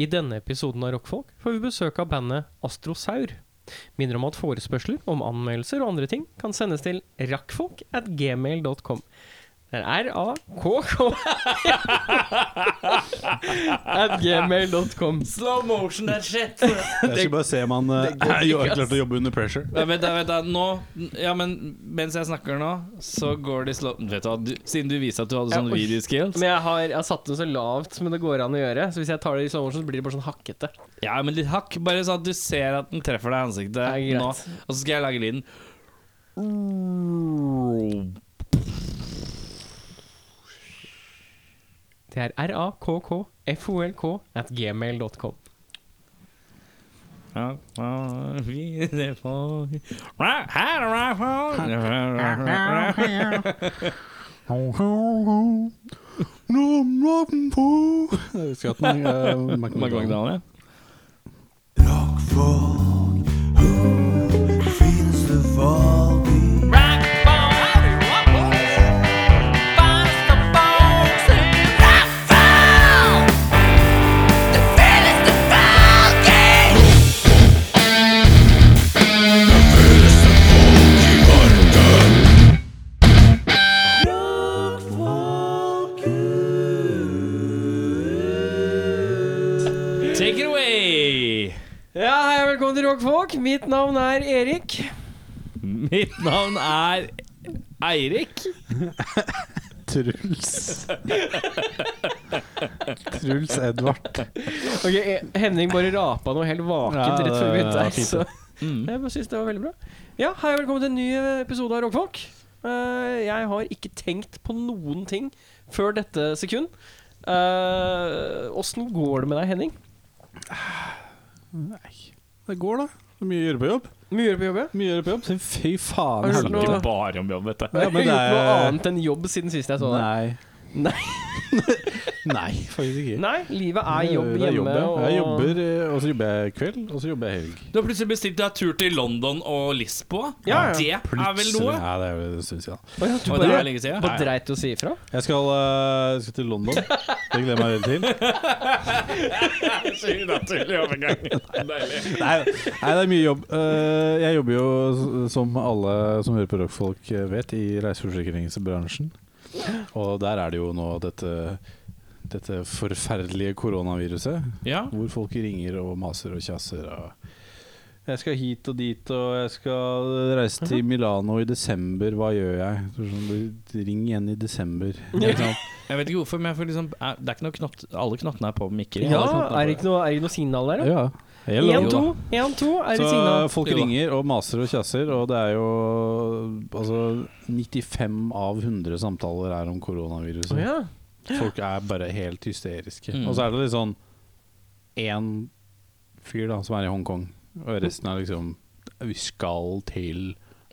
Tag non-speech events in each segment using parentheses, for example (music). I denne episoden av Rockfolk får vi besøk av bandet Astrosaur. Minner om at forespørsler om anmeldelser og andre ting kan sendes til rakkfolk at gmail.com. Det er r-a-k-k (laughs) at gmail.com. Slow motion, that (laughs) shit. Jeg skal bare se om han eh, det (laughs) går ikke, er ass. klart å jobbe under pressure. Ja, vent, da, vent, da. Nå Ja, men mens jeg snakker nå, så går det slow Vet du hva, du, siden du viste at du hadde Ja, sånne oi. videoskills Men jeg har, jeg har satt den så lavt som det går an å gjøre. Så hvis jeg tar det i slow motion, så blir det bare sånn hakkete. Ja, men litt hakk. Bare sånn at du ser at den treffer Ja, deg i ansiktet greit. nå. Og så skal jeg lage lyden. Det er r-a-k-k-f-o-l-k at gmail.com. Ja, ja, vi- det får vi. Her er jeg fra. Jeg husker at den, eh, McDonald's. McDonald, ja. Take it away! Ja, hei og velkommen til Rockfolk. Mitt navn er Erik. Mitt navn er Eirik. Truls. Truls Edvard. Ok, eh, Henning bare rapa noe helt Ja, vakent det rett før vi begynte var her. fint, Så det. Mm. (laughs) jeg bare synes det var veldig bra. Ja, hei og velkommen til en ny eh, episode av Rockfolk. Eh, jeg har ikke tenkt på noen ting før dette sekund. Eh, Åssen går det med deg, Henning? Nei, det går da. Det er mye å gjøre på jobb. Mye å gjøre på jobb? ja? Mye å gjøre på jobb. Fy faen. Har du hørt helvete. noe? Snakker bare om jobb, vet du. Ja, Har men du det (laughs) gjort noe er annet enn jobb siden sist jeg så deg? Nei. (laughs) Nei, faktisk ikke. Nei, livet er jobb Det er hjemme. ja. og- Jeg jobber, eh, og så jobber jeg kveld, og så jobber jeg helg. Du har plutselig bestilt deg tur til London og Lisboa. Ja, ja. Det er vel Plutselig. noe? Ja, det er vel en stund siden. Å ja, du Og det er bare, lenge siden. bare dreit å si ifra? Jeg skal, eh, skal til London. Det gleder jeg meg veldig til. Så unaturlig (laughs) overgang. Deilig. Nei, nei, det er mye jobb. Eh, jeg jobber jo, s- som alle som hører på rockfolk eh, vet, i reiseforsikringsbransjen. Og der er det jo nå dette, dette forferdelige koronaviruset, Ja. hvor folk ringer og maser og kjasser. Og jeg skal hit og dit, og jeg skal reise til Milano i desember. Hva gjør jeg? Så Sånn, ring igjen i desember. Ikke sant? Jeg vet ikke hvorfor, men jeg føler liksom er- Det er ikke noe knott Alle knottene er på med mikker. Ja, det kan jeg er det ikke noe, er det ikke noe signal der, da? Ja. Hello. Én, to, én, to, er det Så signal? folk Jo da. ringer og maser og kjasser, og det er jo altså 95 av 100 samtaler er om koronaviruset. Å ja. Folk er bare helt hysteriske. Mm. Og så er det litt sånn én fyr da som er i Hongkong, og resten er liksom Vi skal til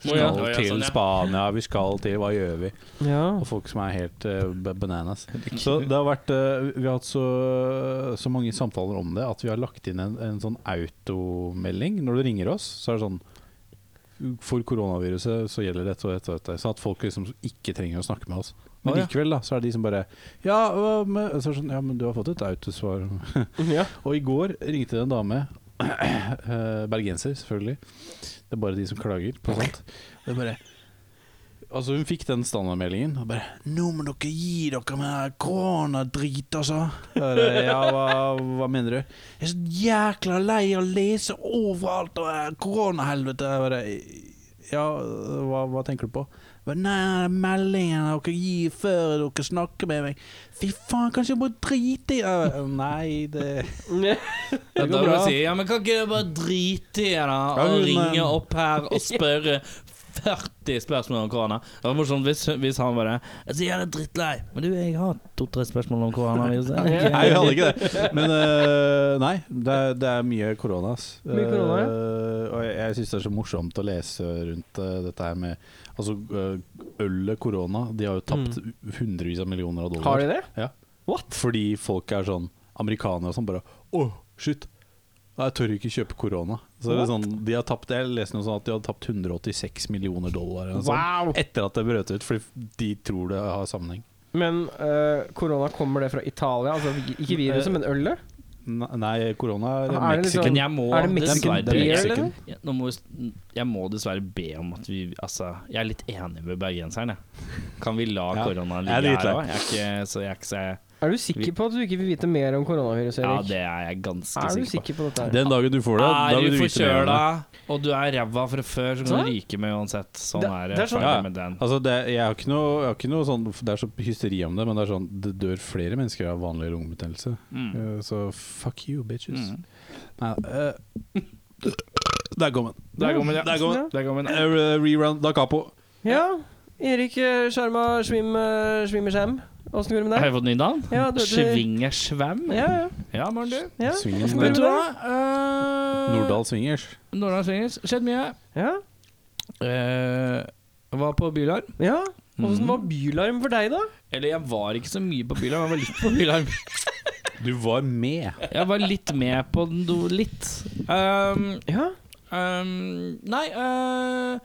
Å ja. skal Å ja, til sånn, ja. Spania, vi skal til Hva gjør vi? ja. Og folk som er helt eh, ba- bananas. (laughs) Så det har vært eh, Vi har hatt så, så mange samtaler om det at vi har lagt inn en, en sånn automelding. Når du ringer oss, så er det sånn For koronaviruset så gjelder dette og dette. og dette Så at folk liksom ikke trenger å snakke med oss. Men Å, ja. likevel da, så er det de som bare Ja, hva med, så er det sånn, ja men du har fått et autosvar. (laughs) ja. og i går ringte det en dame. (clears throat) eh, Bergenser, selvfølgelig. Det er bare de som klager på sånt. Det er bare Altså Hun fikk den standardmeldingen. Og bare 'Nå må dere gi dere med det her koronadrit, altså'. Jeg Bare, ja, hva, hva mener du? 'Jeg er så jækla lei av å lese overalt og eh, koronahelvete'. Jeg bare, Ja, hva, hva tenker du på? Jeg Bare, nei, nei, det er meldingen dere gir før dere snakker med meg. Fy faen, kanskje jeg må drite i det? Jeg bare, Nei, det Sånn. Ja, Det da går vil bra. jeg si Ja, men kan ikke du bare drite i det, da? Ja, Og men- ringe opp her og spørre 40 spørsmål om korona. Det var morsomt hvis, hvis han bare Altså, jeg er drittlei, men du, jeg har to-tre spørsmål om korona. hvis jeg- Ja. (laughs) Nei, vi hadde ikke det. Men øh, nei, det er, det er mye korona. ass. Mye korona, ja. Øh, og jeg, jeg syns det er så morsomt å lese rundt øh, dette her med Altså, øh, ølet korona, de har jo tapt hundrevis av millioner av Mm. dollar. Har de det? Ja. What? Fordi folk er sånn Amerikanere som bare Å, shit! Jeg tør ikke kjøpe korona. Så det er sånn, de har tapt, Jeg leste noe sånn at de hadde tapt 186 millioner dollar eller noe sånt, Wow! etter at det brøt ut, fordi de tror det har sammenheng. Mm, Men eh, korona, kommer det fra Italia? Altså vi- ikke viruset, men ølet? Ne- Nei, korona er Er det Mexico. liksom- Men jeg må Er det Mexican dessverre Det er beer, Mexican. eller? Ja, Nå må vi, jeg må dessverre be om at vi Altså, jeg er litt enig med bergenseren, jeg. Kan vi la Ja, korona jeg er ligge litt her lei. òg? Jeg er ikke så jeg er ikke så Er du sikker på at du ikke vil vite mer om koronavirus, Ja, Erik? det er jeg ganske er du sikker på. sikker på dette? her? Den dagen du får det, da Er vil du du vite mer om forkjøla, det. og du er ræva fra før, så Sånn? kan du ryke med uansett. Sånn Det- er det er sånn- ferdig Ja. med den. Altså det, jeg har ikke noe, jeg har ikke noe sånn, det er så hysteri om det, men det er sånn Det dør flere mennesker av vanlig lungebetennelse. Mm. Eh, Så fuck you, bitches. Mm. Nei, eh, der kom den. Der kommer den. Der kom den. Der kommer den. Eh, Rerun da Capo. Ja. Erik eh, Sjarma Svim eh, Svimmer Sham. Åssen går det med Har deg? jeg fått nytt navn? Ja, du- du- Svinger Svam? Ja, ja. Ja, Maren, du. ja. Swingen. Hvordan går Vet det du med hva? deg? Eh, Nordahl Swingers. Nordahl Svingers. Skjedd mye. Ja. Eh, var på bilarm. ja. Åssen Mhm. var bylarm for deg, da? Eller jeg var ikke så mye på bilarm, jeg var litt på bilarm. Du var med. Jeg var litt med på den, do, litt. Um, Ja. um, nei eh,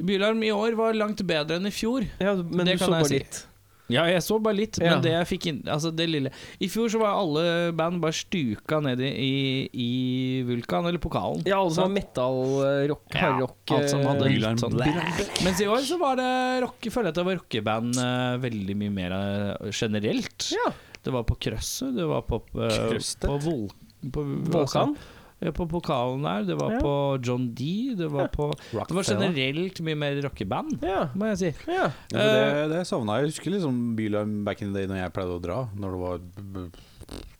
Bilarm i år var langt bedre enn i fjor. ja men du så Det kan jeg bare si. litt. Ja, jeg så bare litt, men Ja. det jeg fikk inn Altså det lille I fjor så var alle band bare stuka ned i, i, i Vulkan, eller pokalen. Ja, alle som var metal, eh, rock, Ja, hardrock alt som hadde eh, Bilarm litt sånn Black. Bilarm. Mens i år så var det rock, jeg føler at det var rockeband eh, veldig mye mer eh, generelt. Ja. Det var på krøsset, det var på, eh, Krøstet? på Vol... På, Volkan. Ja, på pokalen der. Det var Ja. på John D. Det var Ja. på Det var generelt mye mer rockeband, Ja. må jeg si. ja. Ja, for det, det savna jeg. Jeg husker liksom Bylarm back in the day når jeg pleide å dra, når det var b- b-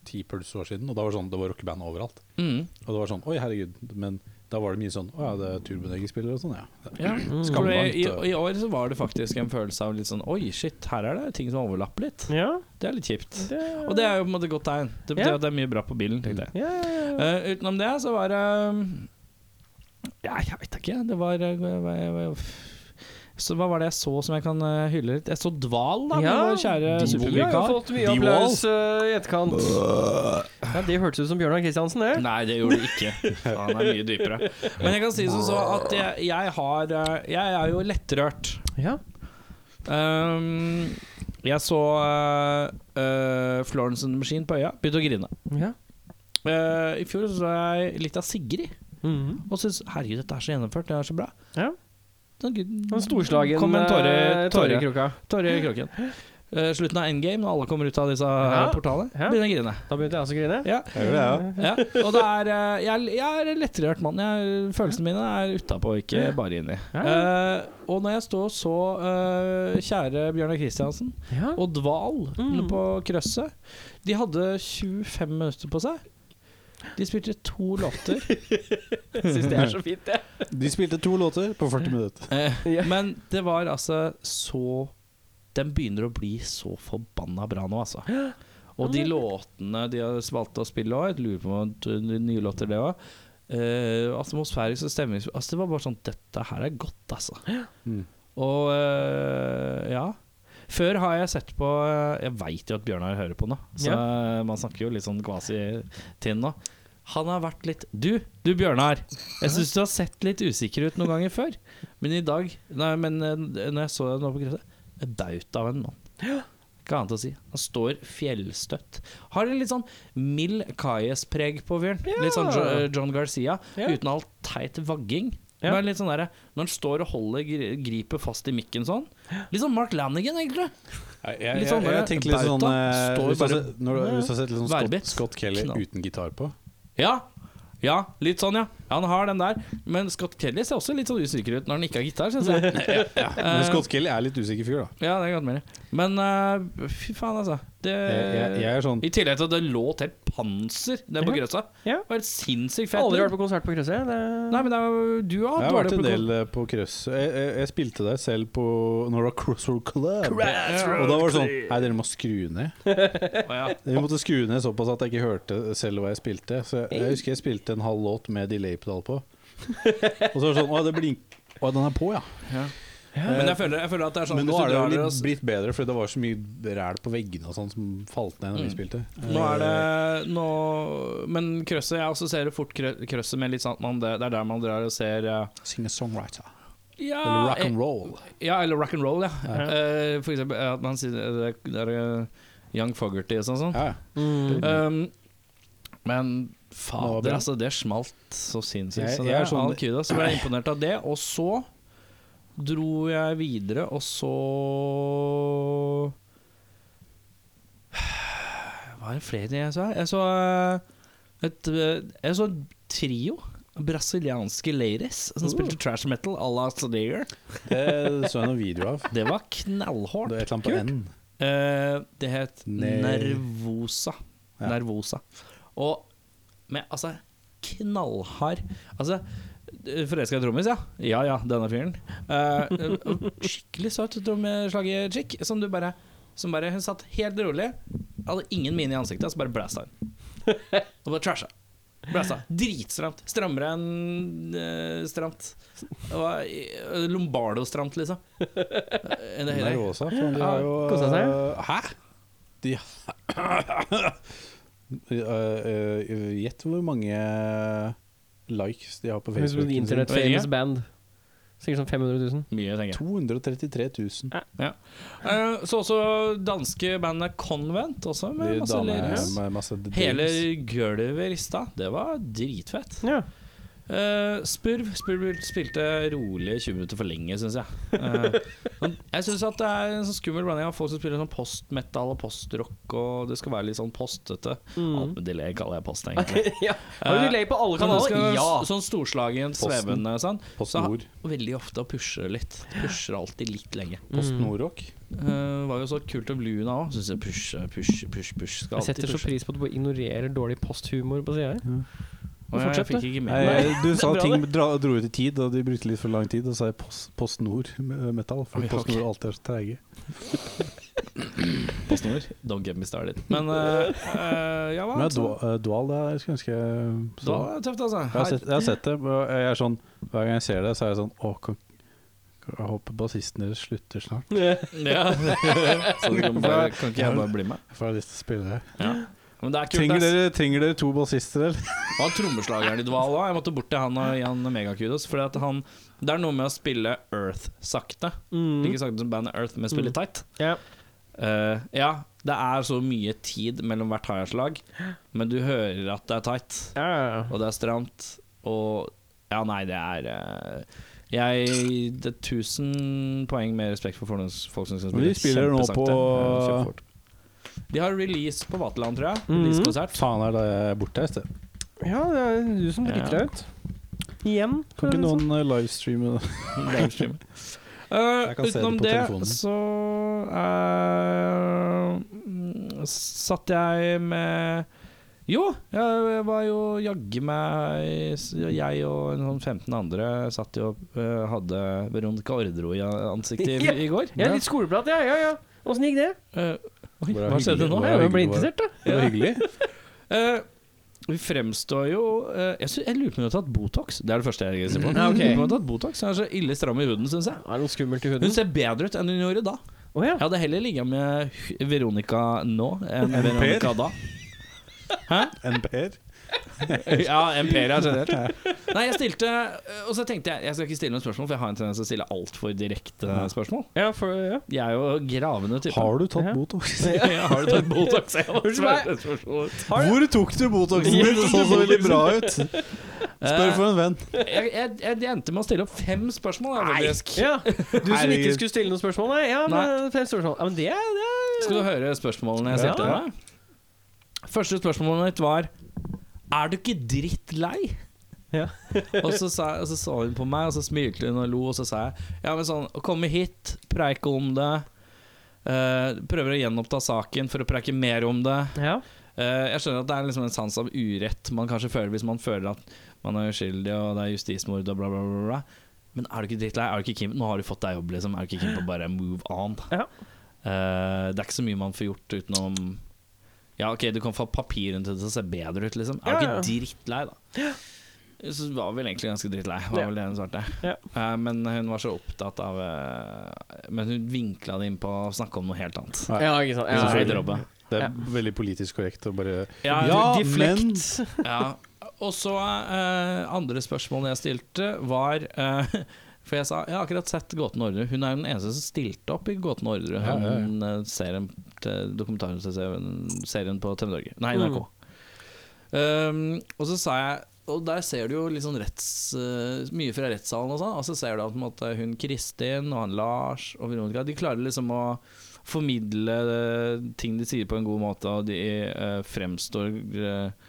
ti pulse år siden. Og da var det sånn, det var rockeband overalt. Mm. Og det var sånn, oi herregud. Men da var det mye sånn, å ja, det er turbonegerspillere og sånn, ja. Ja. Skamlangt, For I, og- I år så var det faktisk en følelse av litt sånn Oi, shit, her er det ting som overlapper litt. ja. Det er litt kjipt. Det... Og det er jo på en måte et godt tegn. Det betyr Ja. at det er mye bra på bilen. tenkte jeg ja, ja, ja. Eh, Utenom det så var det eh, Ja, jeg vet ikke. Det var eh, hva- hva- hva- så hva var det jeg så som jeg kan eh, hylle litt? Jeg så Dval, da, Ja, med vår kjære de- Vi har jo supervikar. fått mye De applaus eh, i etterkant. Ja, det hørtes ut som Bjørnar Kristiansen, det. Nei, det gjorde det (laughs) ikke. Han er mye dypere. Men jeg kan si som så at jeg, jeg har eh, Jeg er jo lettrørt. Ja. Um, jeg så eh, eh, Florence and the Machine på øya. Begynte å grine. ja. Eh, I fjor så jeg litt av Sigrid Mhm. og syntes herregud, dette er så gjennomført, det er så bra. Ja. Sånn, gud, En storslagen Kom en tåre, eh, tåre, tåre i kroka. tåre i kroken. Eh, slutten av Endgame, når alle kommer ut av disse eh, Ja. portalene, Ja. begynner jeg å grine. Da begynte jeg også å grine. Ja. Jeg gjør det, ja. Ja. Og det er eh, jeg, jeg er en lettrørt mann. Jeg, følelsene mine er utapå, ikke bare inni. Ja. Eh, og når jeg står og så eh, kjære Bjørnar Kristiansen Ja. og Dval Mm. på krøsset. De hadde 25 minutter på seg. De spilte to låter, (laughs) Jeg syns det er så fint, det. De spilte to låter på 40 minutter. eh, Ja. men det var altså så Den begynner å bli så forbanna bra nå, altså. Og de låtene de har valgt å spille òg, jeg lurer på om det er nye låter, det òg. atmosfærisk og stemning altså, Det var bare sånn Dette her er godt, altså. Mm. Og øh, ja. Før har jeg sett på eh, Jeg veit jo at Bjørnar hører på nå, så øh, man snakker jo litt sånn kvasi til nå. Han har vært litt Du, du Bjørnar. Jeg syns du har sett litt usikker ut noen ganger før. Men i dag Nei, men øh, når jeg så deg nå på krysset En bauta av en mann. Ikke annet å si. Han står fjellstøtt. Har en litt sånn mild Kayes-preg på fyren. Ja. Litt sånn Jo- øh, John Garcia, Ja. uten all teit vagging. Ja. Men litt sånn der, når han står og holder gri- gripet fast i mikken sånn. Litt sånn Mark Lanigan, egentlig. Jeg, jeg, Litt sånn jeg, der, tenkte litt sånn bauta, eh, står Hvis du har bare- sett- når du- hvis du har sett litt sånn Scott, Værbitt. Scott Kelly Knall. uten gitar på Ja. ja, litt sånn, ja. Han har den der. Men Scott Kelly ser også litt sånn usikker ut når han ikke har gitar, syns jeg. (laughs) Men Scott Kelly er litt usikker fyr, da. Ja, det er godt mulig. Men eh, fy faen, altså. Det, Jeg, jeg, jeg er sånn I tillegg til at det låt helt panser der på Ja. grøssa. Ja. Det var helt sinnssykt fett. Aldri vært på konsert på Krøsset. Det... Nei, men det er jo du har hatt Jeg har vært dårlig en på- del eh, på krøss. Jeg, jeg, jeg spilte der selv på når det var Crossroad Club. Og da var det sånn Nei, dere må skru ned. Å, ja. Vi måtte skru ned såpass at jeg ikke hørte selv hva jeg spilte. Så jeg, jeg husker jeg spilte en halv låt med delay-pedal på. Og så var det sånn Å, det blink... Å, den er på, ja. Men jeg føler, jeg føler at det er sånn Men nå hvis du er det drar jo og s- litt blitt bedre, for det var så mye ræl på veggene og sånn som falt ned når vi spilte. Nå Mm. er det nå, Men krøsset, jeg også ser det fort krø- krøsset med litt sånn at man, det, det er der man drar og ser eh, Singer-songwriter. ja, Eller rock eh, and roll. Ja, eller rock and roll, ja. Eh, for eksempel eh, at man sier eh, det er, det er eh, Young Fogerty og sånn. sånn. Ja, ja. Mm. Um, Men Det var bra. fader, altså, det smalt så sinnssykt. Jeg- Så det jeg er er sånn- all kudos. Så ble jeg imponert av det. Og så dro jeg videre, og så (sighs) Hva er det flere jeg så? Jeg så eh, et eh, Jeg så en trio. Brasilianske ladies Uh. som spilte trash metal à la Slayer. Det så jeg noen video av. Det var knallhardt. Det er et eller annet på Kult. N. Eh, det het Ne- Nervosa. Ja. Nervosa. Og med altså knallhard Altså Forelska i trommis, ja. Ja ja, denne fyren. Eh, skikkelig søt trommeslagerchick som du bare som bare, Hun satt helt rolig, hadde ingen mine i ansiktet, så bare blæsta hun. Og bare trasha. Blæsta. Dritstramt. Strammere enn eh, stramt. Det var, eh, Lombardo-stramt, liksom. Eh, det hele. Nervosa. For de Ja, har jo koset seg. eh, Hæ? De (coughs) Eh, eh, Gjett hvor mange likes de har på Høres ut som Facebook. et Internet Vet ikke. famous band. Sikkert sånn 500 000. Mye, tenker jeg. 233 000. Ja. Eh, Så også danske bandet Convent, også med De masse damene lyrics. med masse dreams. Hele gulvet rista. Det var dritfett. Ja. Eh, Spurv Spurv spilte rolig 20 minutter for lenge, syns jeg. Eh, men jeg syns at det er en sånn skummel blanding av folk som spiller sånn postmetal og postrock, og det skal være litt sånn postete. Alt med delay kaller jeg post, egentlig. (laughs) ja. Har du delay på Mm. (laughs) alle Eh, Men det skal kanaler? være Ja! Sånn storslagen, Posten. svevende sånn. Post Så- Nord. Veldig ofte å pushe litt. Pusher alltid litt lenge. Post Nordrock. Uh, var jo så kult om Luna òg. Syns jeg push, push, push, push Jeg skal alltid setter så pushe. pris på at du bare ignorerer dårlig posthumor på sida her. Å, jeg, Fortsett, jeg fikk du. ikke med (laughs) meg. Nei, du sa Det er bra, ting dra, dro ut i tid, og de brukte litt for lang tid. Og så sa jeg Post, post Nord eh, Metal, for Oi, ok. Post Nord alltid er så treige. Postnummer. Don't get me started. Men uh, uh, ja, hva? Men Dua- eh, Dual, det er- skulle jeg ønske Da jeg så. er det tøft, altså. Jeg har, sett, jeg har sett det, og jeg er sånn Hver gang jeg ser det, så er jeg sånn Å, kan, jeg håper bassisten deres slutter snart. (laughs) Ja. så du kan, bare, kan ikke jeg bare bli med? For jeg har lyst til å spille det. Ja. Men det er kult. Trenger ass. dere, trenger dere to bassister, eller? Det var trommeslageren i Dval òg. Jeg måtte bort til han og gi han megakudos. Fordi at han Det er noe med å spille Earth sakte. Ikke sakte som bandet Earth, men spille Mm. tight. Ja. Eh, ja, det er så mye tid mellom hvert high-slag, men du hører at det er tight. Ja, ja, ja. Og det er stramt Og Ja, nei, det er eh, Jeg Det er 1000 poeng med respekt for folk, folk som skal Men spille de spiller nå kjempesakte, på- eh, kjempefort. De har release på Vaterland, tror jeg. Mhm. Release-konsert. (laughs) Faen, er det borte et sted? ja, det er du som driter deg ut. Igjen. Kan ikke noen eh, livestreame det? Livestream. Eh, Jeg kan se utenom det på det, telefonen. så eh, mm, satt jeg med Jo, jeg var jo jaggu meg Jeg og en sånn 15 andre satt jo eh, hadde Veronica Ordro i ansiktet (laughs) i, i går. Jeg er litt skoleprat, ja. Ja, ja. Åssen gikk det? Eh, oi, Hvor er hva skjedde hyggelig- nå? hvor Jeg er ble hyggelig- interessert, da. (laughs) Det var hyggelig. Eh, vi fremstår jo eh, jeg, sy- jeg lurer på om hun har tatt Botox. Det er det første jeg registrerer på. Ja, ok. Jeg lurer på om hun har tatt Botox Hun er så ille stram i huden, syns jeg. Det er noe skummelt i Hun huden. ser bedre ut enn hun gjorde da. Å ja. Jeg hadde heller ligget med H- Veronica nå enn Enn Veronica da. En Per? Ja, Imperia generelt. Nei, jeg stilte Og så tenkte jeg jeg skal ikke stille noen spørsmål, for jeg har en tendens til å stille altfor direkte spørsmål. ja, for, ja. Jeg er jo gravende type. Har du tatt Ja. Botox? (laughs) Har du tatt Botox? Jeg må Unnskyld spørre spørsmål. Hvor tok du Botoxen din? Det så så veldig bra ut. Spør for en venn. Eh, Jeg, jeg, jeg endte med å stille opp fem spørsmål. Jeg, faktisk. ja. Du som ikke skulle stille noen spørsmål, nei. Ja, men, Nei. fem spørsmål. Ja, men det, er- det er Skal du høre spørsmålene jeg Ja. stilte deg? Første spørsmålet mitt var Er du ikke drittlei? Ja. (laughs) og, så sa, og så så hun på meg, og så smilte hun og lo, og så sa jeg Ja, men sånn, å komme hit, preike om det eh, Prøver å gjenoppta saken for å preike mer om det. ja. Eh, jeg skjønner at det er liksom en sans av urett man kanskje føler hvis man føler at man er uskyldig og det er justismord og bla, bla, bla. bla. Men er du ikke drittlei? Er du ikke keen? Nå har du fått deg jobb, liksom. Er du ikke keen på å bare move on? Ja. Eh, det er ikke så mye man får gjort utenom Ja, OK, du kan få papir rundt det som ser bedre ut, liksom. Er du Ja, ja. ikke drittlei, da? Så var vel egentlig ganske drittlei, var Ja. vel det hun svarte. Ja. Eh, men hun var så opptatt av eh, Men hun vinkla det inn på å snakke om noe helt annet. ja, ikke sant. Ja, Ja, (laughs) Selvfølgelig. ja. garderobe. Det Ja. er veldig politisk korrekt å bare Ja, Ja, men Deflekt. Ja. Og så eh, andre spørsmålet jeg stilte, var eh, For jeg sa jeg har akkurat sett Gåten Ordre. Hun er den eneste som stilte opp i Gåten Ordre. Ja, ja, ja. eh, Hun eh, serien til- dokumentarserien serien på TV Norge. Nei, NRK. Um, og så sa jeg Og der ser du jo litt sånn retts, eh, mye fra rettssalen og sånn. Og så ser du at på en måte, hun Kristin og han Lars og Veronica De klarer liksom å formidle eh, ting de sier på en god måte, og de eh, fremstår eh,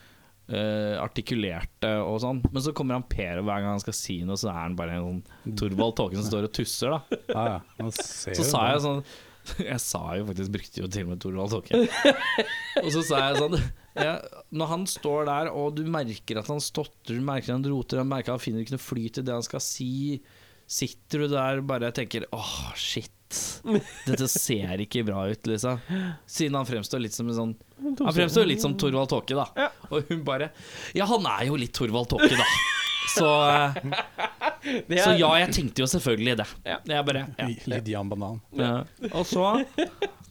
eh, artikulerte og sånn. Men så kommer han Per, og hver gang han skal si noe, så er han bare en sånn Torvald Tåken som står og tusser, da. Ja, ja. Man ser Så jo sa det. jeg sånn (laughs) Jeg sa jo faktisk brukte jo til og med Torvald Tåke. og så sa jeg sånn ja, Når han står der, og du merker at han stotrer, du merker han roter, han merker han finner ikke noe flyt i det han skal si, sitter du der og bare tenker åh, shit. Dette ser ikke bra ut, liksom. Siden han fremstår litt som en sånn Han fremstår litt som Torvald Tåke, da. Ja. Og hun bare Ja, han er jo litt Torvald Tåke, da. Så, eh, (laughs) Det så er- ja, jeg tenkte jo selvfølgelig det. Ja. Jeg bare ja. Litt- Litt Jan Banan. Ja. Eh, Og så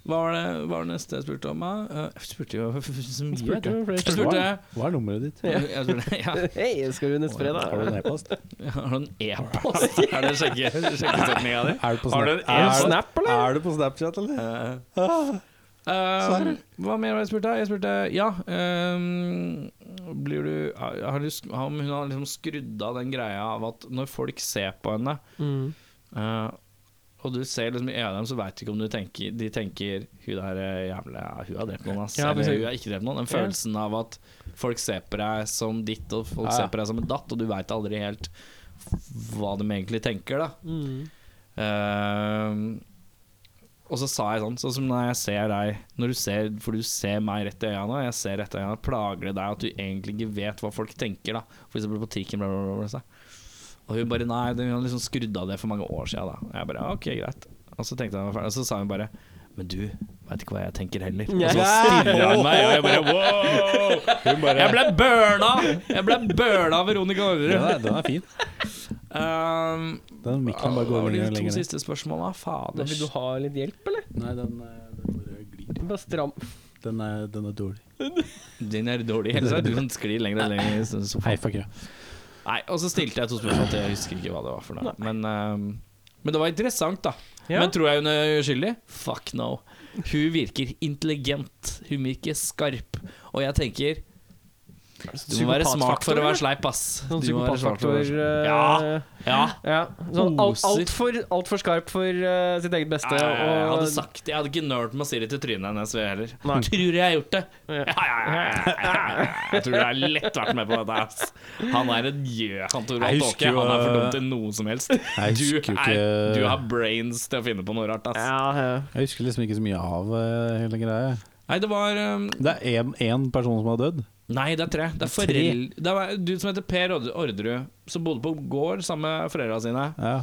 Hva var det, hva var det neste jeg spurte om? da? Eh, Jeg spurte jo (laughs) så mye. Spurte jeg. jo flere Jeg spurte Hva er nummeret ditt? jeg spurte, ja. Hei, skal du neste fredag? Har du en e-post? (laughs) Har du en e-post? Er det sjekke- sjekkesetninga di? Er du på Har du en Snap- Er er du du- snap, eller? Er du på Snapchat, eller? Eh, Ah, Um, hva mer var det jeg spurte? Jeg spurte ja um, Blir du har du, sk- Om hun har liksom skrudd av den greia av at når folk ser på henne, Mm. eh, og du ser liksom i øynene dem, så veit du ikke om du tenker, de tenker Hun der eh, jævla Hun har drept noen, ass. Ja, Eller precis. hun har ikke drept noen. Den følelsen av at folk ser på deg som ditt, og folk Ja, ja. ser på deg som en datt, og du veit aldri helt hva de egentlig tenker, da. Mm. Ehm, og så sa jeg sånn, sånn som når jeg ser deg Når du ser, For du ser meg rett i øynene, og jeg ser rett i øynene. Plager det deg at du egentlig ikke vet hva folk tenker? da For eksempel på trikken, bla, bla, bla. bla så. Og hun bare nei, hun har liksom skrudd av det for mange år siden. da Og jeg bare ok, greit. Og så tenkte jeg meg ferdig, og så sa hun bare men du veit ikke hva jeg tenker heller. Og så stirrer hun meg, og jeg bare wow! Hun bare Jeg ble burna! Jeg ble burna av Veronica den Orderud. er, den er fin. Um, Den mikken bare hva går var de lenger og to lenger. ned. siste Ah, spørsmåla? Da Fader. vil du ha litt hjelp, eller? Nei, den, eh, den bare glir. Bare stram. Den er, den er dårlig. Den er dårlig. Ellers er (laughs) det du som sklir lenger og lenger i Hei, sofaen. fuck you. Nei, og så stilte jeg to spørsmål til, jeg husker ikke hva det var for noe. Men, ehm, men det var interessant, da. Ja. Men tror jeg hun er uskyldig? Fuck no. Hun virker intelligent. Hun virker skarp. Og jeg tenker Du må være smart for å være sleip, ass. Sånn Du må være smart for å psykopatfaktor være eh, sleip. Ja, ja. Sånn alt, Oser. alt, for, alt for skarp for eh, sitt eget beste. ja. Jeg og- hadde sagt det. Jeg hadde ikke nølt med å si det til trynet hennes jeg heller. Nei. Tror jeg har gjort det. Ja. Ja, ja, ja, ja, ja, ja. Jeg tror du har lett vært med på dette. Ass. Han er en gjø. Han tror han Jeg tåke. husker jo, Han er for dum eh, til noe som helst. Jeg Du, husker jo er, du ikke har brains til å finne på noe rart. Ass. Ja, ja. Jeg husker liksom ikke så mye av eh, hele greia. Nei, det var um, Det er én person som har dødd. Nei, det er tre. Det er Tre? forel- Det var Du som heter Per Ord- Orderud, som bodde på gård sammen med foreldra sine. Ja.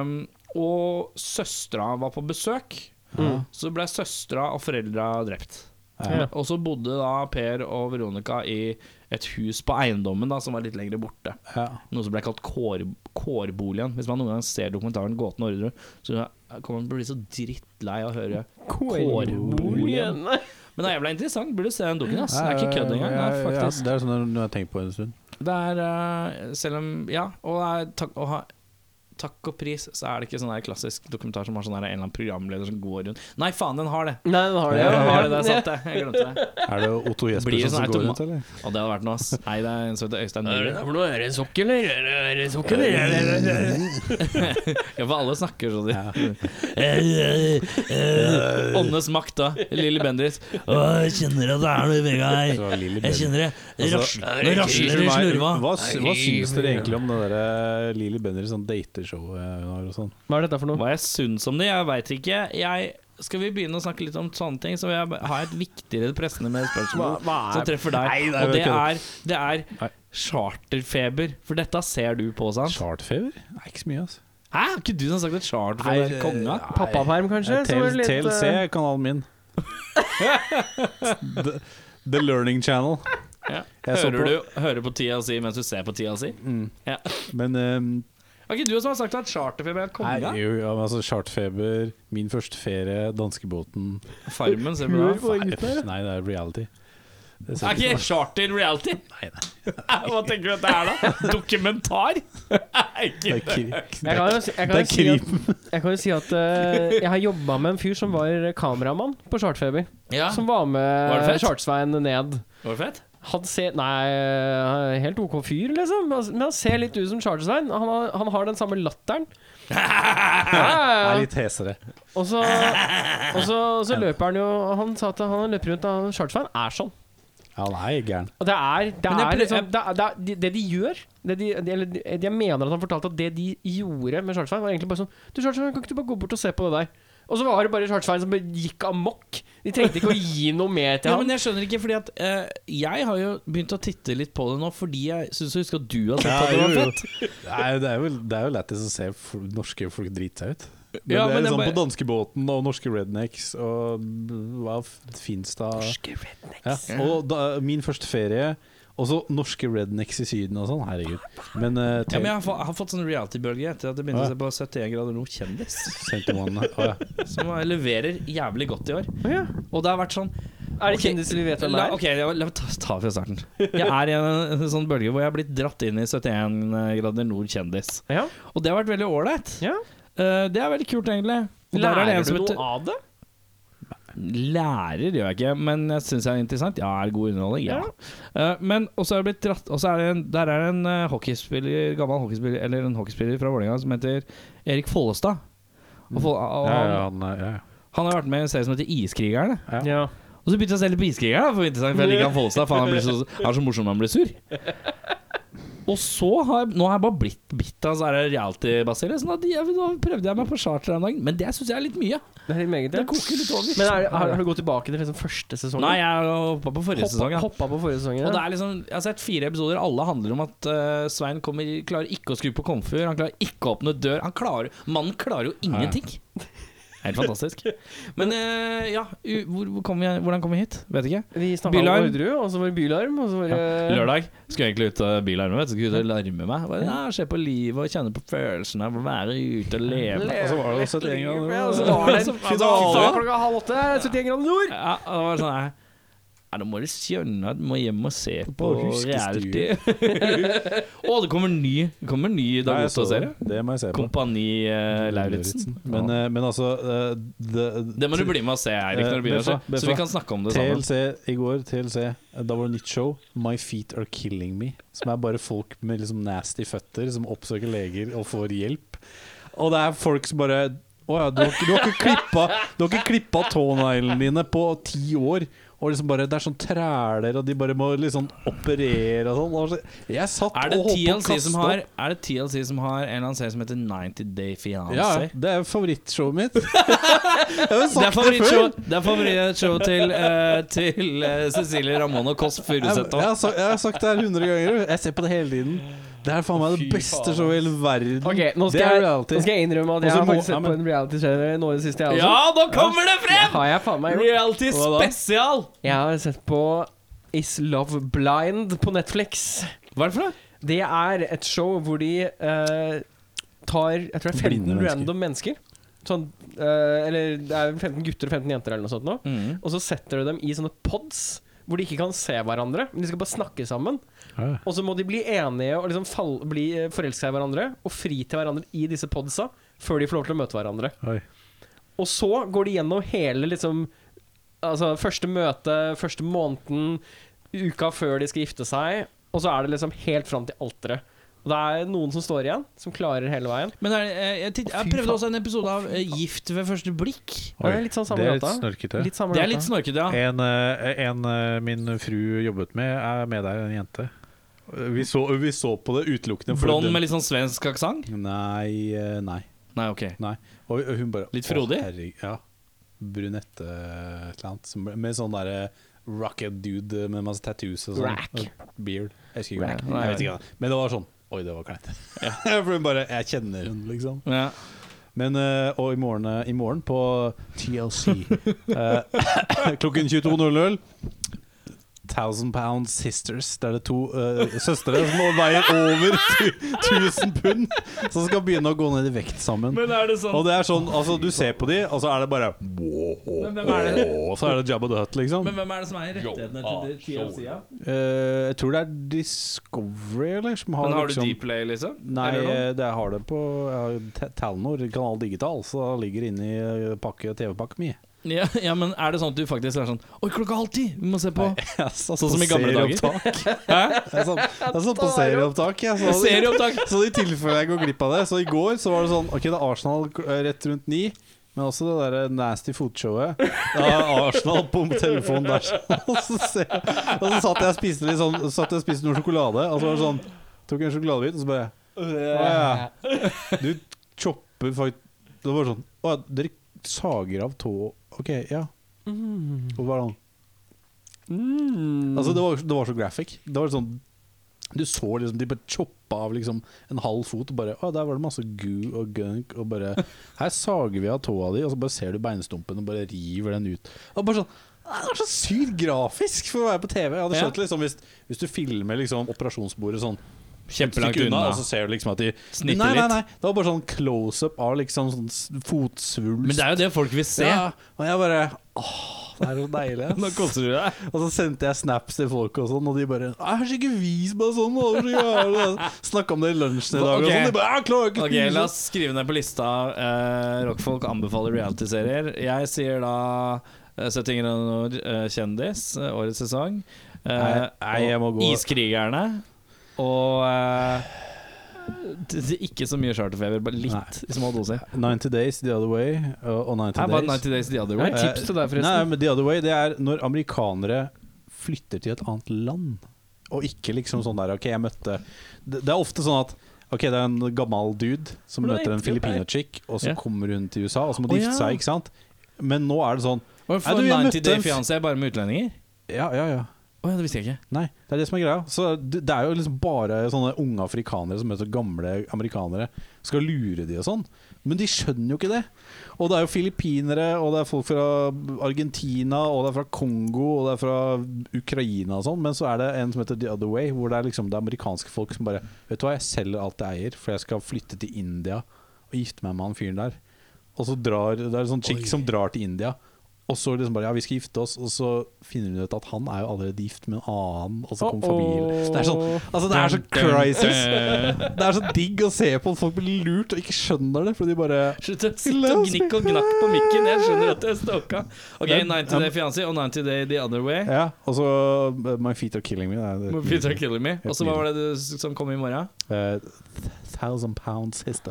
Um, og søstera var på besøk. Mm. Så ble søstera og foreldra drept. Ja. Og så bodde da Per og Veronica i et hus på eiendommen da, som var litt lenger borte. Ja. Noe som ble kalt kår, kårboligen. Hvis man noen gang ser dokumentaren 'Gåten og Orderud', så kommer man til å bli så drittlei av å høre Kårboligen. Kårboligen. Men det er jævla interessant. Burde se den dukken. ass Det er ikke kødd engang. Det er Ja, ja, faktisk Det er sånn jeg- når jeg har tenkt på det en stund. Det er eh, Selv om Ja, og det er takk, å ha, takk og pris, så er det ikke sånn der klassisk dokumentar som har sånn der en eller annen programleder som går rundt Nei, faen, den har det! Nei, den har det. Den ja. har det, det er sant, det. Jeg glemte det. Er det Otto Blir det Jespersen sånn som går automa- rundt, eller? Og det hadde vært noe, ass. Nei, det er en som heter Øystein Nyhre. for noe? Er det sokk, eller? Er det- Er det sokk, eller? Er det- er det- er det- (laughs) Ja, for alle snakker sånn. Ja. Åndenes makt, da. Lille Bendriss. Å, jeg kjenner at det er noe i vegga her. Jeg kjenner det. Det Altså, rasler det rasler i slurva. Hva, hva syns dere egentlig om det der Lily Bendriss sånn dateshowet hun har og sånn? Hva er dette for noe? Hva jeg syns om det, jeg veit ikke. Jeg, skal vi begynne å snakke litt om sånne ting, så vil jeg ha et viktigere pressende med spørsmål som treffer deg. Nei, nei, og det vet du. er, det Nei. er charterfeber. For dette ser du på, sant? Chartfever? Nei, ikke så mye, altså. Hæ? Er ikke du som har sagt at charterfeber er konga? Pappaperm, kanskje? som er litt, TLC eh, er kanalen (laughs) min. The, The Learning Channel. Ja. Jeg så Hører på- du hører på tida si mens du ser på tida si? Mm. Ja. Men ehm, Er ikke du som har sagt at charterfeber er konga? nei, jo, ja, men altså Chartfeber, Min første ferie, Danskebåten Farmen, ser du Hør det? på den gutten her. Nei, det er reality. Det Er ser ikke ikke sånn. charter reality? Nei, nei. (laughs) Hva tenker du at det er, da? Dokumentar? (laughs) Er ikke Det er kri- Jeg kan jo si, jeg kan det jo er si at, krim. jeg, kan jo si at eh, jeg har jobba med en fyr som var kameramann på Chartfeber. Ja. Som var med Var det fett? Chartsveien ned. Var det fett? Han ser Nei, helt OK fyr, liksom. Men han ser litt ut som Chartersveien. Han, har- han har den samme latteren. (laughs) Det Ja, er ja, ja. litt hesere. Og (laughs) så, og så, og så løper han jo Han sa at han løper rundt av Chartersveien. Er sånn. Ja, han er gæren. Og det er, det Men jeg er ple- liksom det, er- det, er, de- det de gjør det de, de, Eller de, jeg mener at han fortalte at det de gjorde med Charlesvein, var egentlig bare sånn Du, Charlesvein, kan ikke du bare gå bort og se på det der? Og så var det bare Charlesvein som bare gikk amok. De trengte ikke å gi noe mer til Ja, ham. men jeg skjønner ikke, fordi at eh, jeg har jo begynt å titte litt på det nå, fordi jeg syns jeg husker at du har sett Ja, at det var jo, jo. fett. Det er jo, det er jo, det er jo lættis å se fol- norske folk drite seg ut. Men Ja, det er men sånn jeg på danskebåten og norske rednecks og hva f- fins da ja. Og da, min første ferie Også norske rednecks i Syden og sånn. Herregud. Men uh, Ja, men jeg har, fa- har fått sånn reality-bølge etter at jeg begynte Å, ja. å se på 71 grader nord kjendis, (laughs) ja. som leverer jævlig godt i år. Å ja. Og det har vært sånn Er det Ok, kjendiser vi vet hvem La, er? ok, la, la meg ta, ta fra starten. Jeg er i en, en sånn bølge hvor jeg har blitt dratt inn i 71 grader nord kjendis. Ja. Og det har vært veldig ålreit. ja. Eh, det er veldig kult, egentlig. Og der er det en Lærer du som noe heter- av det? Lærer gjør jeg ikke, men jeg syns det er interessant. Ja, er det god underholdning? Ja. Ja. Eh, men også er det blitt dratt Og så er det en, der er det en eh, hockeyspiller, gammel hockeyspiller Eller en hockeyspiller fra Vålerenga som heter Erik Follestad. Og, Foll- (laughs) og Mm. Ja, han, ja, han, er- ja, ja. han har vært med i en serie som heter Iskrigerne. Ja. Ja. Og så begynte jeg å se litt på Iskrigerne, da, for, det er interessant, (laughs) for jeg liker han Follestad. For han, blir så, han er så morsom når han blir sur. Og så har jeg, nå har jeg bare blitt bitt av sånn reality-basile. Sånn at jeg, nå prøvde jeg meg på charter en dag, men det syns jeg er litt mye. Det er litt meget, Det ja. koker litt over. Men er, det- har, har du gått tilbake til liksom første sesong? Nei, jeg hoppa på forrige sesong. ja. Hoppa, hoppa på forrige sesong. Og det Ja. er liksom, Jeg har sett fire episoder, alle handler om at eh, Svein kommer, klarer ikke å skru på komfyr. Han klarer ikke å åpne dør. Han klarer, mannen klarer jo ingenting. Helt fantastisk. Men eh, ja, u- hvor, hvor kom vi, hvordan kom vi hit? Vet ikke. Vi snakka om Bylarm. Orderud, og så var det bylarm, og så var det Lørdag skulle jeg egentlig ut av bilarmen. Vet, du, skulle ut og larme meg. Bare, ja, se på livet og kjenne på følelsen av å være ute og leve. Og så var det også et en gang Ja, og så var (laughs) det Så- en finale klokka halv åtte. 71 grader nord. Ja, og det var sånn her ja, Nå må du skjønne at du må hjem og se på, huskestue. reality. (laughs) Å, det kommer en ny, det kommer en ny Nei, jeg så Dagoto-serie. det. Det må jeg se på. Kompani uh, Lauritzen. Men, eh, men altså eh, det må du bli med og se, Eirik, når du begynner å se. Beffa, Beffa. Så vi kan snakke om det sammen. TLC i går, TLC Da var det nytt show My Feet Are Killing Me Som er bare folk med liksom nasty føtter Som oppsøker leger og får hjelp Og det er folk som bare Åja, du har, ikke- du har ikke klippet Du har ikke klippet tåneglene dine på ti år Og liksom bare, det er sånn træler Og de bare må liksom operere og sånn Og så- Jeg satt Er det, og holdt på å TLC kaste som opp har, er det TLC som har en eller annen serie som heter 90 Day Fiancé? Ja, det er favorittshowet (laughs) mitt Jeg har jo Det er sagt det før favorittshow Det er favorittshow til, eh, til eh, Cecilie Ramón og Kåss Jeg, Furuseth. jeg, også. har sagt, jeg har sagt det her 100 ganger. Jeg ser på det hele tiden. Det er faen meg det beste showet i hele verden. Ok, nå det skal, jeg, er nå reality. skal jeg innrømme at Og jeg så har må- faktisk ja, sett på men- en reality-serie nå i det siste, jeg også. Ja, nå kommer det Det frem! har jeg faen meg gjort. Reality Hva da? spesial! Jeg har sett på Is Love Blind på Netflix. Hva er det for noe? Det er et show hvor de eh, tar Jeg tror det er 15 Blinde mennesker. random mennesker. Sånn, eh, eller det er 15 gutter og 15 jenter eller noe sånt nå. Mm. Mm. Og så setter du dem i sånne pods hvor de ikke kan se hverandre, men de skal bare snakke sammen. Og så må de bli enige og liksom fall, bli eh, forelske i hverandre og fri til hverandre i disse podsa før de får lov til å møte hverandre. Oi. Og så går de gjennom hele liksom Altså første møte, første måneden, uka før de skal gifte seg, og så er det liksom helt fram til alteret. Og det er noen som står igjen, som klarer hele veien. Men er, det- eh, jeg, titt, jeg prøvde også en episode av eh, Gift ved første blikk. Og det er litt sånn samme gata. snorkete. Litt samme Det er gata. litt snorkete, ja. Eh, En, min fru jobbet med, er med der, en jente. Vi så, vi så på det utelukkende for Blond den- med litt sånn svensk aksent? Nei, eh, nei. Nei, ok. nei. Og og hun bare Litt «Å, frodig?» herregud, ja. Brunette eh, et eller annet. Som, ble- med sånn derre rocket dude med masse tattoos og sånn. Rack. Og Beard. Jeg husker ikke. Rack. Nei, jeg vet ikke. hva det- Men det var sånn Oi, det var kleint. (laughs) for hun bare Jeg kjenner hun, liksom. Ja. Men, eh, og i morgen, eh, i morgen (laughs) på TLC eh, klokken 22.00 Thousand Pound Sisters. Det er det to eh, søstre som nå veier over 1000 pund, som skal begynne å gå ned i vekt sammen. Men er det sånn Og det er sånn, altså du ser på de, og så er det bare Men hvem er det? Og så er det Jabba the Hutt, liksom. Men hvem er det som eier rettighetene til de- TLC-a? Eh, jeg tror det er Discovery, eller? Som har, Men har du liksom, Dplay, liksom? Nei, Eller noe? eh, det har det på jeg har T- Telenor, Kanal Digital, så det ligger inne i eh, pakke TV-pakka mi. Ja, ja, men er det sånn at du faktisk er sånn Oi, klokka halv ti! Vi må se på (laughs) Sånn som i gamle dager. (laughs) Hæ? Jeg satt, jeg satt sånn på serieopptak. Jeg, så, Serieopptak! så i tilfelle jeg går glipp av det. Så i går så var det sånn Ok, det er Arsenal eh, rett rundt ni. Men også det der eh, nasty fotshowet. Da er Arsenal på telefonen der. (laughs) Og så, ser, jeg- og så satt jeg og spiste litt sånn Satt jeg og spiste noe sjokolade, og så var det sånn Tok jeg en sjokoladebit, og så bare «Å ja, Du chopper faktisk Det var sånn Å ja, dere sager av tå Ok, ja. Og hva er det? sånn, Mm. Altså, det var, det var så graphic. Det var sånn Du så liksom de bare choppa av liksom en halv fot, og bare Å, der var det masse goo og gunk, og bare Her sager vi av tåa di, og så bare ser du beinstumpen og bare river den ut. Og bare sånn «Å, det var så sykt grafisk for å være på TV. Jeg hadde Ja. skjønt liksom hvis, hvis du filmer liksom operasjonsbordet sånn Kjempelangt stykke unna. og så ser du liksom at de Snitter nei, nei, litt. nei, Det var bare sånn close-up av liksom sånn s- fotsvulst. Men det er jo det folk vil se. Ja, og jeg bare Åh, det er så deilig. ass. (laughs) Nå koser du deg. Og så sendte jeg snaps til folk og sånn, og de bare «Æ, 'Æsj, ikke vis meg sånn!' Og så jævlig». Snakka om det i lunsjen i dag, og Ok. sånn. De bare «Æ, 'Jeg klarer ikke å Ok, (laughs) spise La sånn». oss skrive ned på lista eh, rockfolk anbefaler realityserier. Jeg sier da eh, 70 grader nord, eh, kjendis, eh, årets sesong. Eh, Nei, nei, jeg må og gå. Iskrigerne. Og eh, det- det er ikke så mye charterfeber, bare litt Nei. i små doser. 90 Days The Other Way og og 90 Her var det Days. 90 Days The Other Det er Way. et tips til deg, forresten. Nei, men The Other Way det er når amerikanere flytter til et annet land. Og ikke liksom sånn der Ok, jeg møtte Det, det er ofte sånn at Ok, det er en gammel dude som Hvordan møter heter det? en filipino-chick, og så Ja. kommer hun til USA, og så må Å, de ja. gifte seg, ikke sant? Men nå er det sånn Nei, Hvorfor du, jeg 90 møtte Day en f- Fiancé bare med utlendinger? Ja, ja, ja. Å ja, det visste jeg ikke. Nei, det er det som er greia. Så det, det er jo liksom bare sånne unge afrikanere som møter gamle amerikanere, skal lure de og sånn. Men de skjønner jo ikke det. Og det er jo filippinere, og det er folk fra Argentina, og det er fra Kongo, og det er fra Ukraina og sånn. Men så er det en som heter The Other Way, hvor det er liksom det amerikanske folk som bare Vet du hva, jeg selger alt jeg eier, for jeg skal flytte til India og gifte meg med han fyren der. Og så drar Det er en sånn chick som drar til India. Og så liksom bare Ja, vi skal gifte oss, og så finner hun ut at han er jo allerede gift med en annen, og så kommer familien. Så Det er sånn Altså, det er så crisis. (laughs) Det er så digg å se på at folk blir lurt og ikke skjønner det, fordi de bare Slutt å sitte og gnikke og gnakk på mikken. Jeg skjønner at det er stalka. Ok, Men- 90 Day Fiancé og 90 Day The Other Way. Ja, og så uh, My feet are killing me. Det er, Må Peter Killer Me. Og så hva var det du, s- som kom i morgen? (laughs) Eh, th- thousand pounds sister.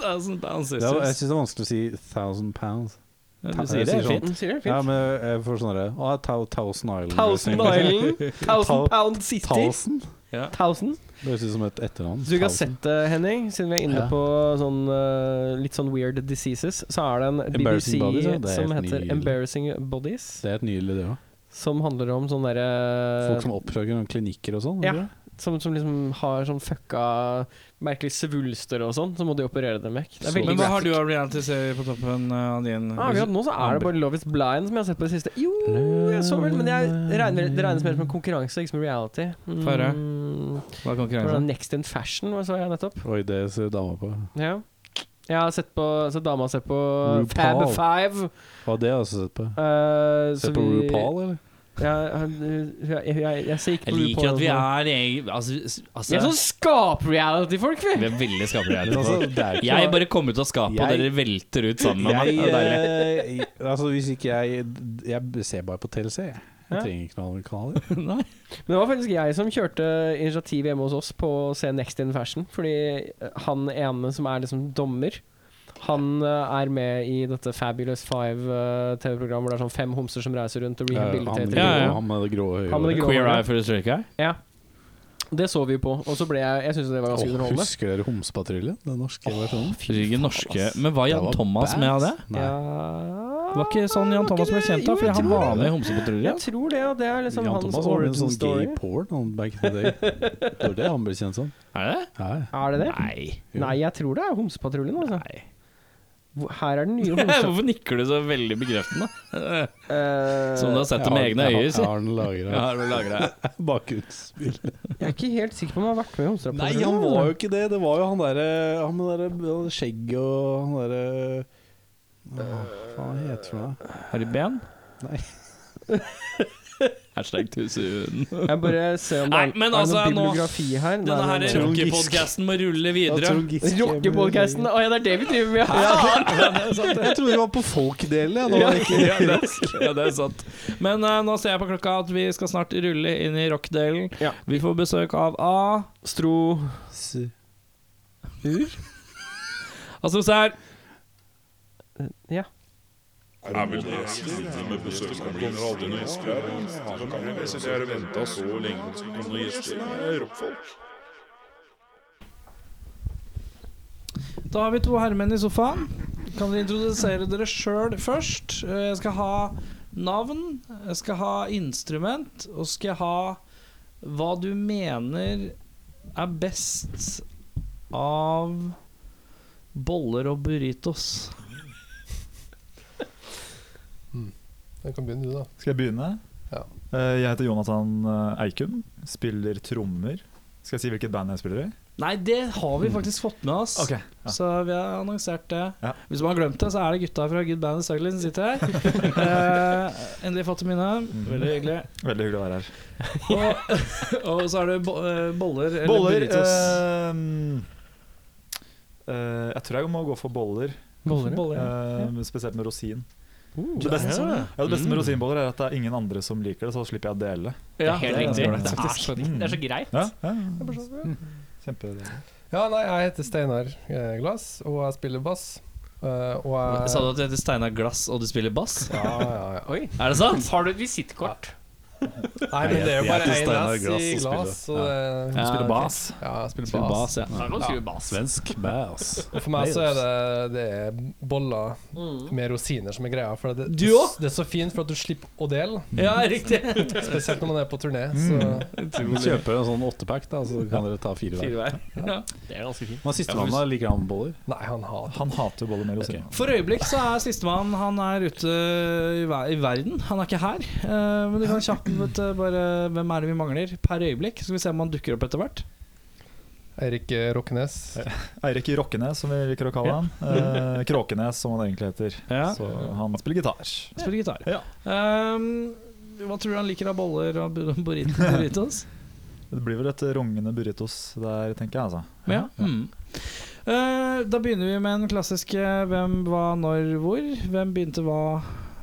Thousand Pound Det er, jeg Sisters. syns det er vanskelig å si thousand pounds. Ja, jeg du sier det sier er sånn. fint. Mm, Sier det Ja, fint. men jeg får sånn derre Å, Thou- Thousand Island. Thousand (laughs) Island, Thousand Pound City. Thousand? Ja. Thousand. Det høres ut som et etternavn. Hvis du ikke har Thousand. sett det, Henning, siden vi er inne Ja. på sånn, eh, litt sånn weird diseases, så er det en BBC Embarrassing Bodies, ja. Det er som helt heter ny- Embarrassing Bodies. Det er et nydelig det òg. Som handler om sånne derre Folk som oppsøker noen klinikker og sånn. Eh, Ja. eller? som, som liksom har sånn fucka merkelige svulster og sånn, så må de operere dem vekk. Det er Så- veldig Men hva har graphic. du av reality-serier på toppen uh, av din? Ah, Akkurat nå så er det bare Love is Blind som jeg har sett på det siste. Jo, jeg så vel, men jeg regner, det regnes mer som en konkurranse, ikke som en reality. Mm, Få høre. Hva er det var konkurransen? Next in Fashion hva så jeg nettopp. Oi, det ser dama på. Ja. Jeg har sett på Så dama ser på Fab RuPaul. Five. Hva har det også sett på? eh, så Sett på vi- RuPaul, eller? Ja, han- eh, jeg, jeg, jeg, jeg ser ikke på Jeg liker RuPaul at vi nå. er eg- Altså, s- Vi er altså sånn skap-reality-folk, vi! Vi er veldig skapelige. Men altså, det er jo ikke Jeg noe- bare kommer ut av skapet, og Jeg- dere velter ut sammen med meg. jeg, Det er deilig. (laughs) eh, altså, hvis ikke jeg Jeg ser bare på TLC, jeg. Jeg Ja. trenger ikke noen andre kanaler. Nei. Men det var faktisk jeg som kjørte initiativ hjemme hos oss på å se Next in Fashion. Fordi eh, han ene som er liksom dommer, han eh, er med i dette Fabulous Five-TV-programmet hvor det er sånn fem homser som reiser rundt og han, rehabiliterer. grå, ja, ja. han med det grå øyet. Han med det grå- Queer Eye for the Straight Guy. Det så vi på, og så ble jeg Jeg syntes det var ganske Åh, underholdende. husker dere Homsepatruljen? Den norske versjonen? Ryggen norske. Men hva Det Jan var Thomas bad. med av det? Nei. Ja Det var ikke sånn Jan var Thomas ikke ble det? kjent Jo, da, fordi jeg han tror var det. med i Homsepatruljen. Jeg tror det, og det er liksom Jan hans Thomas var en origin sånn story. gay porn han back in the (laughs) day. Det var det han ble kjent som. (laughs) Er det? Ja, ja. Er det det? Nei. Jo. Nei, jeg tror det er Homsepatruljen, altså. Nei. Hvor- Her er den nye (laughs) homse... Hvorfor nikker du så veldig bekreftende? Eh, Som du har sett det med Jeg egne har- øyne, jeg si. har den lagra. Ja, (laughs) du lager det. Bakgrunnsspill. jeg er ikke helt sikker på om han har vært med i Homserapporten. Nei, han var jo ikke det. Det var jo han derre Han med derre han med skjegg og han derre Åh, Hva faen heter han for noe? Har du ben? Nei. Hashtag tusehuden. Jeg bare ser om det Nei, er, men er altså, noe nå- bibliografi her. Nei, Denne nei, her nei. Trond Giske. rockepodcasten må rulle Jeg videre. tror Giske- Rockepodcasten! Å ja, det er det vi driver med! Jeg trodde vi var på folkdelen. jeg, nå. Ja, (laughs) ja, det, ja, det er sant. Men eh, nå ser jeg på klokka at vi skal snart rulle inn i rockdelen. Ja. Vi får besøk av A. Astro... S- Altså, se her. Ja. Da har vi to herremenn i sofaen. Kan dere introdusere dere sjøl først? Eh, Jeg skal ha navn, jeg skal ha instrument, og skal jeg ha hva du mener er best av boller og burritos. Jeg kan begynne, du, da. Skal jeg begynne? Ja. Eh, Jeg heter Jonathan eh, Eikum, spiller trommer. Skal jeg si hvilket band jeg spiller i? Nei, det har vi faktisk fått med oss. Ja. Så vi har annonsert det. Ja. Hvis man har glemt det, så er det gutta fra Good Band and Ugly som sitter her. (laughs) Eh, endelig fått dem inne. Mm. Veldig hyggelig. Veldig hyggelig å være her. Og, (laughs) og så er det bo eh, boller eller Boller burritos. eh, eh, Jeg tror jeg må gå for boller, Boller, ja. Boller, ja. eh, spesielt med rosin. Uh, Det beste, ja. ja, Mm. det beste med rosinboller er at det er ingen andre som liker det, så slipper jeg å dele. Ja, det helt er ganske riktig. ålreit. Det er så greit. Ja, ja, ja. Kjempedeilig. Ja, nei, jeg heter Steinar eh, Glass, og jeg spiller bass. Eh, og jeg Sa du at du heter Steinar Glass og du spiller bass? Ja, ja, ja. Oi. Er det sant? Har du et visittkort? Nei, men det er Jeg jo bare heter én Steinar S Glass i og glass, så spiller. det Ja, Spiller ok. bass. Ja, jeg spiller, Spiller bass. bass, ja. Da kan du skrive bass. Svensk bass. Og for meg så er det, det er boller med rosiner som er greia. For det, Mm. Du også? det er så fint for at du slipper å dele, Mm. Ja, riktig. (laughs) spesielt når man er på turné. Så Kjøper en sånn åttepack, da, så kan dere ta fire hver. Fire vei. Ja. Det er ganske fint. Men sistemann da, liker han boller? nei, han har Han hater boller med rosin. For øyeblikk så er sistemann Han er ute i, ver i verden. Han er ikke her. Eh, men du kan kjapt vet, du, bare Hvem er det vi mangler per øyeblikk? Skal vi se om han dukker opp etter hvert. Eirik eh, Rokkenes. Eirik Rokkenes, som vi liker å kalle han. Eh, Kråkenes, som han egentlig heter. Ja. Så han spiller gitar. Spiller gitar. Ja. Ehm, hva tror du han liker av boller og bur- burrit- burritos? Det blir vel et rungende burritos der, tenker jeg. altså. Ja. Mm. Eh, da begynner vi med den klassiske hvem, hva, når, hvor. Hvem begynte hva,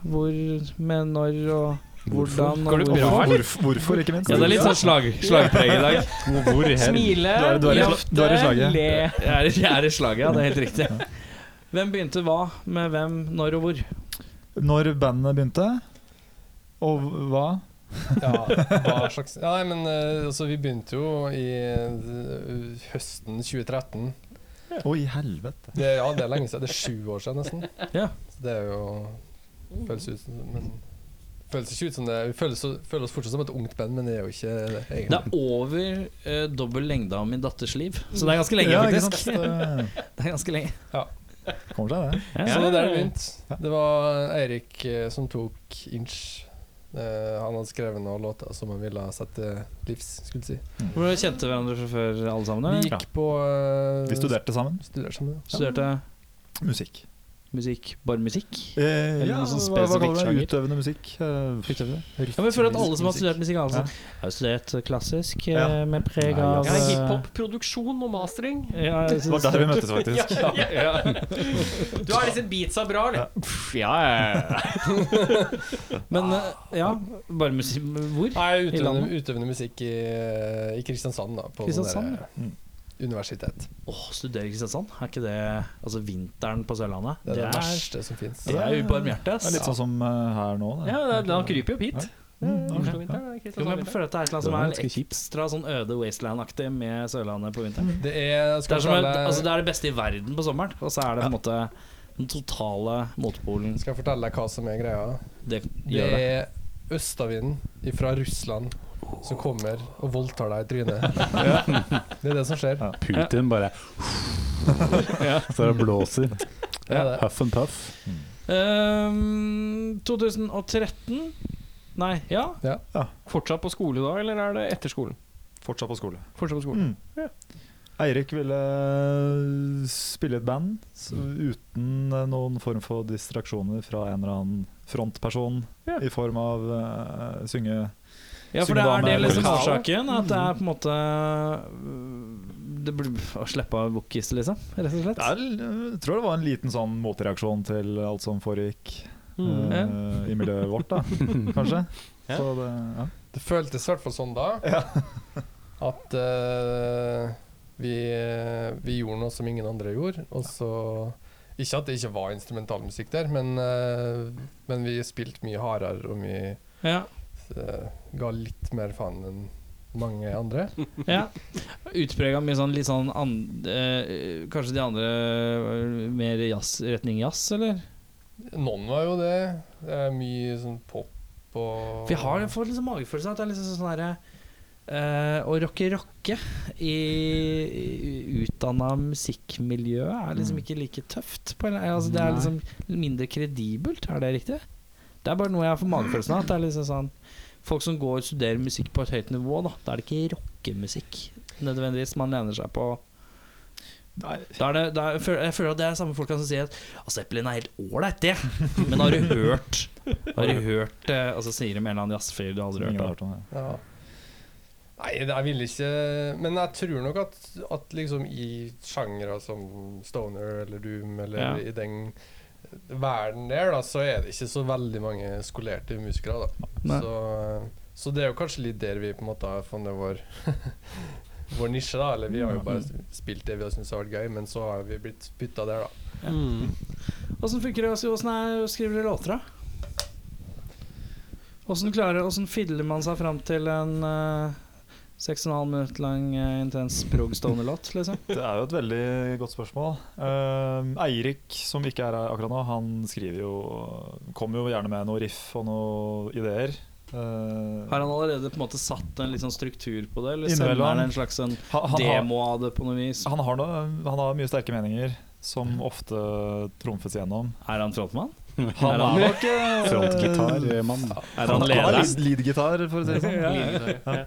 hvor, med når og hvordan. Og Går det bra, eller? Hvorfor, hvorfor, ikke minst? Ja, det er litt sånn slag, slagpreg i dag. (laughs) Hvor Smile, Du er- du er i sla- du er i slaget. le. Jeg er, jeg er i slaget, ja. Det er helt riktig. Hvem begynte hva med hvem, når og hvor? Når bandet begynte, og hva? Ja, hva slags ja, Nei, men eh, altså, vi begynte jo i eh, høsten 2013. Å, i helvete. Det, ja, det er lenge siden. Det er sju år siden nesten. Ja. Så det er jo Føles ut som men, Føles ikke ut som det Vi føles, føler oss fortsatt som et ungt band, men det er jo ikke det, Det egentlig. er over eh, dobbel lengde av min datters liv, så det er ganske lenge, ja, ikke faktisk. sant? Det er ganske lenge. Det kommer seg, det. Så det er der det begynte. Det var Eirik eh, som tok Inch. Eh, han hadde skrevet noen låter som han ville sette livs, skulle jeg si. Hvor kjente hverandre fra før, alle Ah, sammen? Vi eller? gikk på eh, Vi studerte sammen. studerte sammen. Ja. Studerte Musikk. musikk, bare musikk? Eh, Eller ja, noe sånn hva, hva kaller spesifikk du det? Utøvende musikk? eh, Ja, men jeg føler at alle som har Musikk. studert musikk, alle sammen har jo studert klassisk, eh, Ja. med preg Nei, av Ja, altså. eh, Hiphop-produksjon og mastering. Ja, jeg Det synes- var der vi møttes, (laughs) faktisk. Du har liksom beatsa bra, eller? Ja, (laughs) Men eh, ja, bare musikk Hvor? Nei, utøvende, landet? utøvende musikk i, eh, i Kristiansand, da. På Kristiansand, sånn der, ja. Mm. Universitet. Åh, studere i Kristiansand? Er ikke det Altså, vinteren på Sørlandet? Det er det verste som fins. det er ubarmhjertig, Det er ass. litt sånn som eh, her nå. Det. ja det- den kryper jo opp hit. Mm, Oslo ok. vinter, det er Mm. Jo, men jeg Kristiansand vinter. føler at det er et eller Det var annet som ganske er litt ekstra sånn øde wasteland-aktig med Sørlandet på vinteren. Det er, Det Mm. skal er, vi som, kalle, et- altså, det er det beste i verden på sommeren, og så er det på en måte den totale motpolen. skal jeg fortelle deg hva som er greia. Det Det gjør det. er østavinden fra Russland som kommer og voldtar deg i (laughs) trynet. (laughs) Det er det som skjer. Putin bare Så det blåser. Det er det. Huff and puff. Ehm, 2013 Nei, ja. Ja. Fortsatt på skole da, eller er det etter skolen? Fortsatt på skole. Fortsatt på skolen. Mm. Eirik ville eh, spille et band s- uten eh, noen form for distraksjoner fra en eller annen frontperson Ja. i form av eh, synge Ja, for Synge det er dame det er liksom vokal. årsaken. At det er på en måte øh, Det blir å slippe av bookies, liksom. Rett og slett. Det er, Jeg tror det var en liten sånn motreaksjon til alt som foregikk Mm. eh, i miljøet vårt, da, kanskje. Ja. Så det, ja. Det føltes i hvert fall sånn da. (laughs) At eh, vi, eh, vi gjorde noe som ingen andre gjorde. Og så Ikke at det ikke var instrumentalmusikk der, men, eh, men vi spilte mye hardere og vi Ja, eh, ga litt mer faen enn mange andre. ja. Utprega mye sånn litt sånn an, øh, Kanskje de andre øh, mer jazz, retning jazz, eller? Noen var jo det. Det er mye sånn pop og For jeg har jeg får liksom magefølelsen av at det er liksom sånn derre øh, Å rocke rocke i, i utdanna musikkmiljø er liksom ikke like tøft. På en, altså, det er liksom mindre kredibelt, er det riktig? Det er bare noe jeg får magefølelsen av. At det er liksom sånn Folk som går og studerer musikk på et høyt nivå, da, da er det ikke rockemusikk nødvendigvis man lener seg på. Nei, Da er det, da er, jeg føler- jeg føler at det er samme folka som sier at «Ah, Zeppelin er helt ålreit, det. Men har du hørt Har du hørt eh, Og så sier de en eller annen jazzfyr du aldri har ingen hørt har om. hørt om det. Ja. Nei, det- jeg vil ikke Men jeg tror nok at, at liksom i sjangere som stoner eller doom eller Ja. i den verden der, da, så er det ikke så veldig mange skolerte musikere, da. Nei. Så, så det er jo kanskje litt der vi på en måte har funnet vår (laughs) Vår nisje, da. Eller vi har Mm. jo bare spilt det vi har syntes har vært gøy, men så har vi blitt bytta der, da. Mm. Åssen funker det? Altså, Åssen er- skriver dere låter, da? Åssen klarer Åssen fidler man seg fram til en eh, 6,5 minutter lang eh, intens prog-stoner-låt, liksom? Det er jo et veldig godt spørsmål. Eh, Eirik, som ikke er her akkurat nå, han skriver jo Kommer jo gjerne med noe riff og noen ideer. Eh, Har han allerede på en måte satt en litt sånn struktur på det, eller Innimellom. sender han en slags en han, han, har, demo av det på noe vis? han, har noe, han har mye sterke meninger som ofte trumfes gjennom. Er han frontmann? Han er nok eh, Frontgitarmann. Er Han han har leder? lead- leadgitar, for å si det sånn.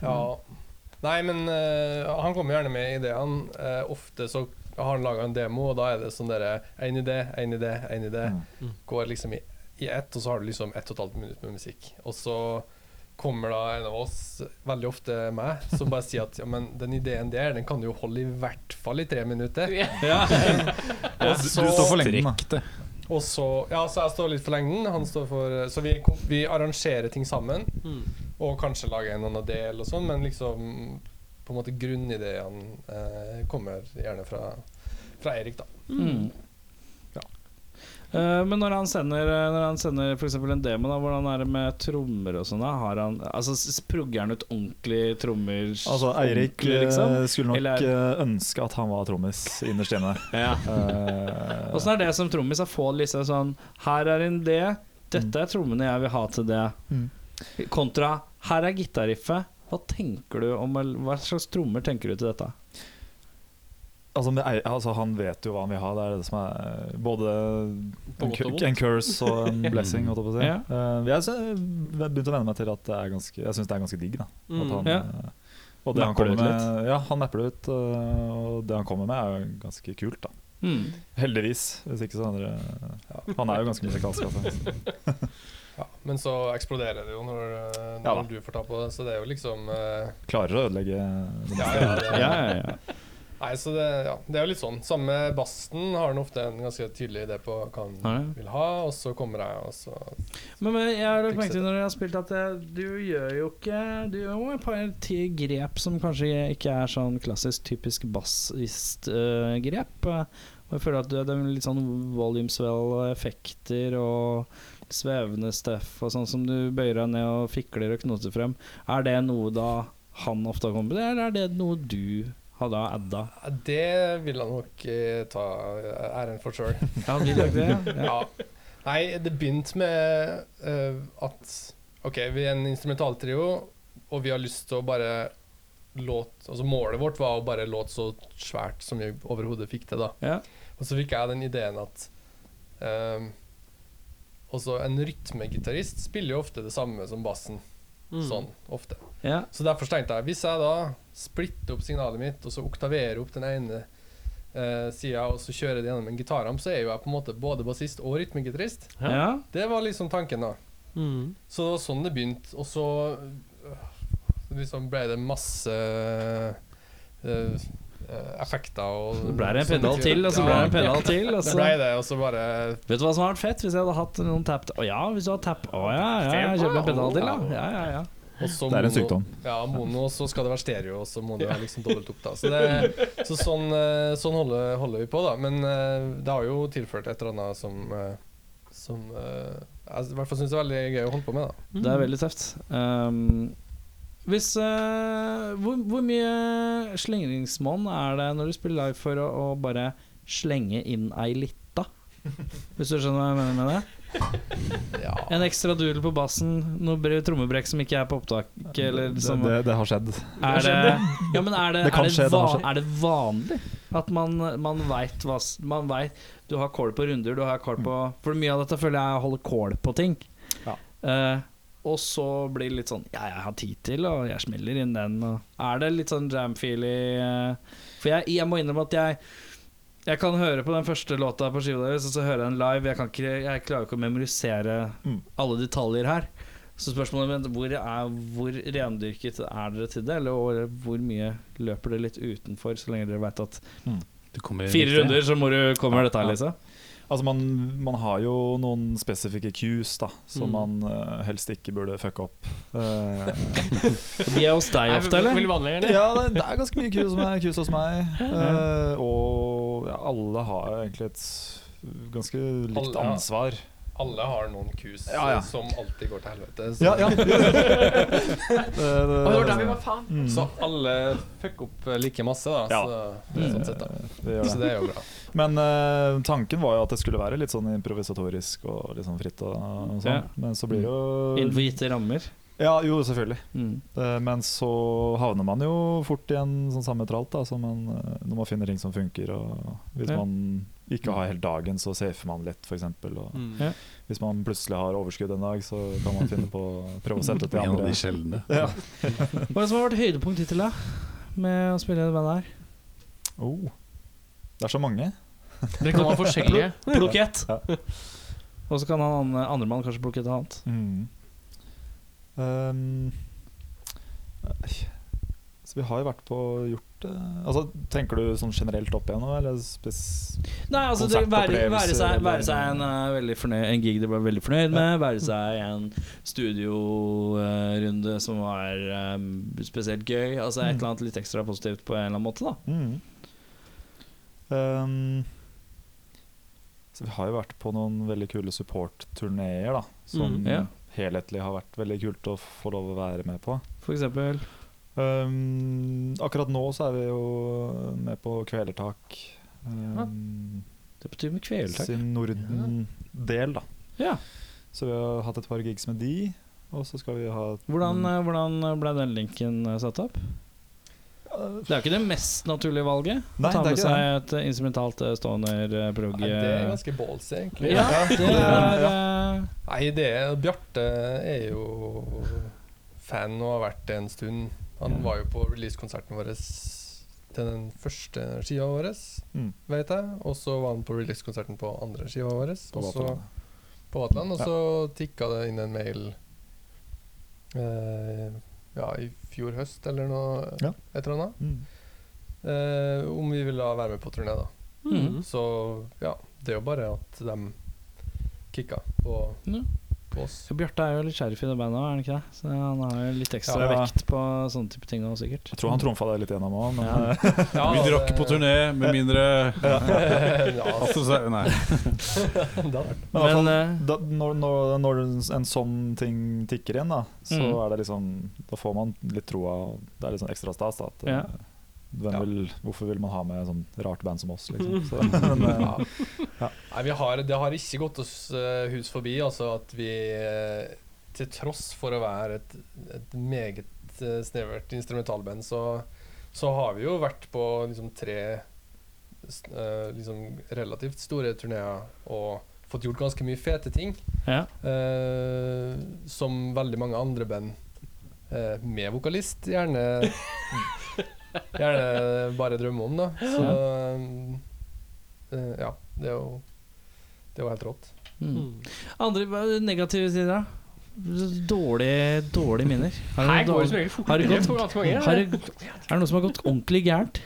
Ja. Nei, men eh, han kommer gjerne med ideene. Eh, ofte så har han laga en demo, og da er det sånn derre én idé, én idé, én idé. Mm. Går liksom i, i ett, og så har du liksom ett og et halvt minutt med musikk. Og så kommer da en av oss, veldig ofte meg, som bare sier at ja, men den ideen der, den kan du jo holde i hvert fall i tre Mm. minutter. Og Du så, står for lengden, da. og så Ja, så jeg står litt for lengden, han står for Så vi, kom- vi arrangerer ting sammen. Mm. Og kanskje lage en annen del og sånn, men liksom på en måte grunnideen eh, kommer gjerne fra, fra Eirik, da. Mm. Eh, men når han sender, når han sender for eksempel en demo, da, hvordan er det med trommer og sånn? da? Har han, altså, s- Progger han ut ordentlig trommer? s- Altså, Eirik ordentlig, liksom? eh, skulle nok Eller- eh, ønske at han var trommis innerst inne. Eh, Åssen er det som trommis? å Få liksom sånn Her er en D, dette er trommene jeg vil ha til det. Mm. Kontra her er gitarriffet. Hva tenker du om Hva slags trommer tenker du til dette? altså, men Ei- altså, han vet jo hva han vil ha. Det er det som er eh, både På en, godt cu- og vondt. en curse (laughs) og en blessing. holdt jeg på å si. Ja. Eh, jeg sy- begynte å venne meg til at det er ganske, jeg syns det er ganske digg. da. At Mm. han, Ja. eh, og det han Napper det kommer ut med, ja, han napper det ut. eh, og det han kommer med, er jo ganske kult. da. Mm. Heldigvis. Hvis ikke så andre Han er jo ganske musikalsk. Altså. Ja. Men så eksploderer det jo når, eh, Ja når da. du får ta på det, så det er jo liksom eh, Klarer å ødelegge ja, ja, Ja, det, ja, ja. Nei, så det, ja, det er jo litt sånn. Samme med bassen har han ofte en ganske tydelig idé på hva han Har det? vil ha, og så kommer jeg, og så Men, men jeg har lagt merke Fikse til når jeg har spilt at eh, du gjør jo ikke Du gjør jo et par ti grep som kanskje ikke er sånn klassisk typisk bassist-grep. og jeg føler at du det er litt sånn volumesvell og effekter og svevende stuff og sånn som du bøyer deg ned og fikler og knoter frem. Er det noe da han ofte har kommet med, eller er det noe du har da adda? Ja, Det vil han nok eh, ta æren for sjøl. Ja, blir det ikke det? Ja. Ja. Nei, det begynte med eh, at OK, vi er en instrumentaltrio, og vi har lyst til å bare låt Altså målet vårt var å bare låte så svært som vi overhodet fikk til, da. Ja. Og så fikk jeg den ideen at eh, også en rytmegitarist spiller jo ofte det samme som bassen. Mm. Sånn ofte. Ja. Så derfor tenkte jeg hvis jeg da splitter opp signalet mitt og så oktaverer opp den ene uh, sida og så kjører det gjennom en gitarram, så er jo jeg på en måte både bassist og rytmegitarist. Ja. Det var liksom tanken, da. Mm. Så det var sånn det begynte, og så øh, liksom ble det masse øh, øh, effekter og Så ble det en pedal til, og så ble det en pedal til. altså. Og så. Det ble det, og så bare Vet du hva som hadde vært fett? Hvis jeg hadde hatt noen tap Å ja, hvis du hadde tap Å ja, ja, jeg kjøper en pedal til, da. Ja, ja, ja. og så Det er en mono- sykdom. Ja, mono, og så skal det være stereo, og så må det være liksom dobbelt opp, da. Så, det, så sånn, øh, sånn holder, holder vi på, da. Men øh, det har jo tilført et eller annet som øh, Som øh, jeg i hvert fall syns det er veldig gøy å holde på med, da. Det er veldig tøft. Ehm, hvis eh, hvor, hvor mye slingringsmonn er det når du spiller live for å, å bare slenge inn ei lita? Hvis du skjønner hva jeg mener med det? Ja. En ekstra duel på bassen, noe bre- trommebrekk som ikke er på opptak, eller som det, det har skjedd. Er det, ja, men er det, Det kan er det, skje, det har va- skjedd. er det vanlig at man, man veit hva s- Man vet, Du har kål på runder, du har kål på For mye av dette føler jeg holder kål på ting. Mm. Ja. Eh, og så blir det litt sånn Ja, jeg har tid til, og jeg smeller inn den. Og, er det litt sånn jam-feely eh, For jeg, jeg må innrømme at jeg jeg kan høre på den første låta på skiva deres, og så hører jeg den live. Jeg, kan ikke, jeg klarer ikke å memorisere Mm. alle detaljer her. Så spørsmålet mitt hvor er hvor rendyrket er dere til det, eller hvor- hvor mye løper det litt utenfor, så lenge dere veit at Du kommer Fire riktig. runder, så må du komme med dette her, Lise. Altså man, man har jo noen spesifikke cues da som Mm. man eh, helst ikke burde fucke opp. Eh, De er hos deg Er ofte, det eller? Veldig vanlig, eller? ja, det, det er ganske mye cues som er cues hos meg. Eh, og ja, alle har egentlig et ganske Alle, likt ja. ansvar. Alle har noen kus eh, Ja, ja. som alltid går til helvete. Så. (laughs) Ja, ja. Og det var der vi var faen. Så alle fucker opp eh, like masse, da. Mm. Ja. Så, Mm. det er sånn sett, da. Vi gjør så eh, det. det er jo bra. Men eh, tanken var jo at det skulle være litt sånn improvisatorisk og litt sånn fritt. Og, og sånn. Ja. Men så blir det Innenfor jo gitte rammer. Ja, jo, selvfølgelig. Mm. Eh, Men så havner man jo fort i en sånn samme tralt da, som man, eh, når man finner ting som funker. Og hvis Ja. man ikke har hele dagen, så safer man lett, f.eks. Og Mm. Ja. hvis man plutselig har overskudd en dag, så kan man finne på å prøve å sette ut de En av andre. de sjeldne. Ja. Hva er det som har vært høydepunkt hittil, da? Med å spille i det bandet her? Oh. Det er så mange. Dere kan (laughs) ha forskjellige. Plukk ett! Ja. Og så kan han andre- andremann kanskje plukke et annet. Mm. Um, eh, så vi har jo vært på gjort eh, altså, Tenker du sånn generelt opp igjen nå, eller spes... Nei, altså det, være, Konsertopplevelser, være, seg, eller- være seg en, eh, veldig fornøyd, en gig de var veldig fornøyd med, være seg en studiorunde som var eh, spesielt gøy. Altså et eller annet litt ekstra positivt på en eller annen måte, da. Mm. Um, så vi har jo vært på noen veldig kule support-turneer, da. Som Mm, ja. helhetlig har vært veldig kult å få lov å være med på. For eksempel. Um, akkurat nå så er vi jo med på Kvelertak. Um, Det betyr med kvelertak. sin Norden-del, da. Ja. Så vi har hatt et par gigs med de, og så skal vi ha Hvordan, eh, hvordan ble den linken eh, satt opp? Det er jo ikke det mest naturlige valget. Nei, å ta det er med ikke seg et eh, instrumentalt eh, stoner eh, prog. Nei, det er eh, ganske ballsy, egentlig. Ja, det er eh, Nei, det er Bjarte er jo fan og har vært det en stund. Han var jo på releasekonserten vår til den første skiva vår, Mm. vet jeg. Og så var han på releasekonserten på andre skiva vår, På og så- Vatland. på Vatland. Og så tikka det inn en mail eh, ja, i fjor høst eller noe, Ja. et eller annet, Mm. eh, om vi ville være med på turné, da. Mm. Så ja, det er jo bare at de kicka på, Ja. på oss. Ja, Bjarte er jo litt sheriff i det bandet òg, er han ikke det? Så han har jo litt ekstra Ja, ja. vekt på sånne type ting nå, sikkert. Jeg tror han trumfa det litt gjennom òg, men Mm. (laughs) (laughs) Ja. Vi Ja, det- drar ikke på turné med mindre (laughs) (laughs) ja, altså, Altså, så- Nei. det har vært Men i Men, hvert fall, eh, da, når, når, når en sånn ting tikker inn, da, så Mm. er det liksom Da får man litt troa, og det er litt sånn ekstra stas. Da, at, Ja. eh, hvem Ja. vil, hvorfor vil man ha med sånn rart band som oss, Mm. liksom? Så, men, eh, ja. Nei, vi har, det har ikke gått oss eh, hus forbi altså at vi, eh, til tross for å være et, et meget eh, snevert instrumentalband, så, så har vi jo vært på liksom, tre s- eh, liksom relativt store turneer og fått gjort ganske mye fete ting. Ja. eh, som veldig mange andre band eh, med vokalist (laughs) gjerne Gjerne bare drømmer om, da. Så eh, ja. Det er jo Det er jo helt rått. Mm. Mm. Andre hva er negative sider, da? Dårlige, dårlige minner. Har du Her går det dårlig- som regel Har fortere. det gått- for ganske mange. har det- er det noe som har gått ordentlig gærent?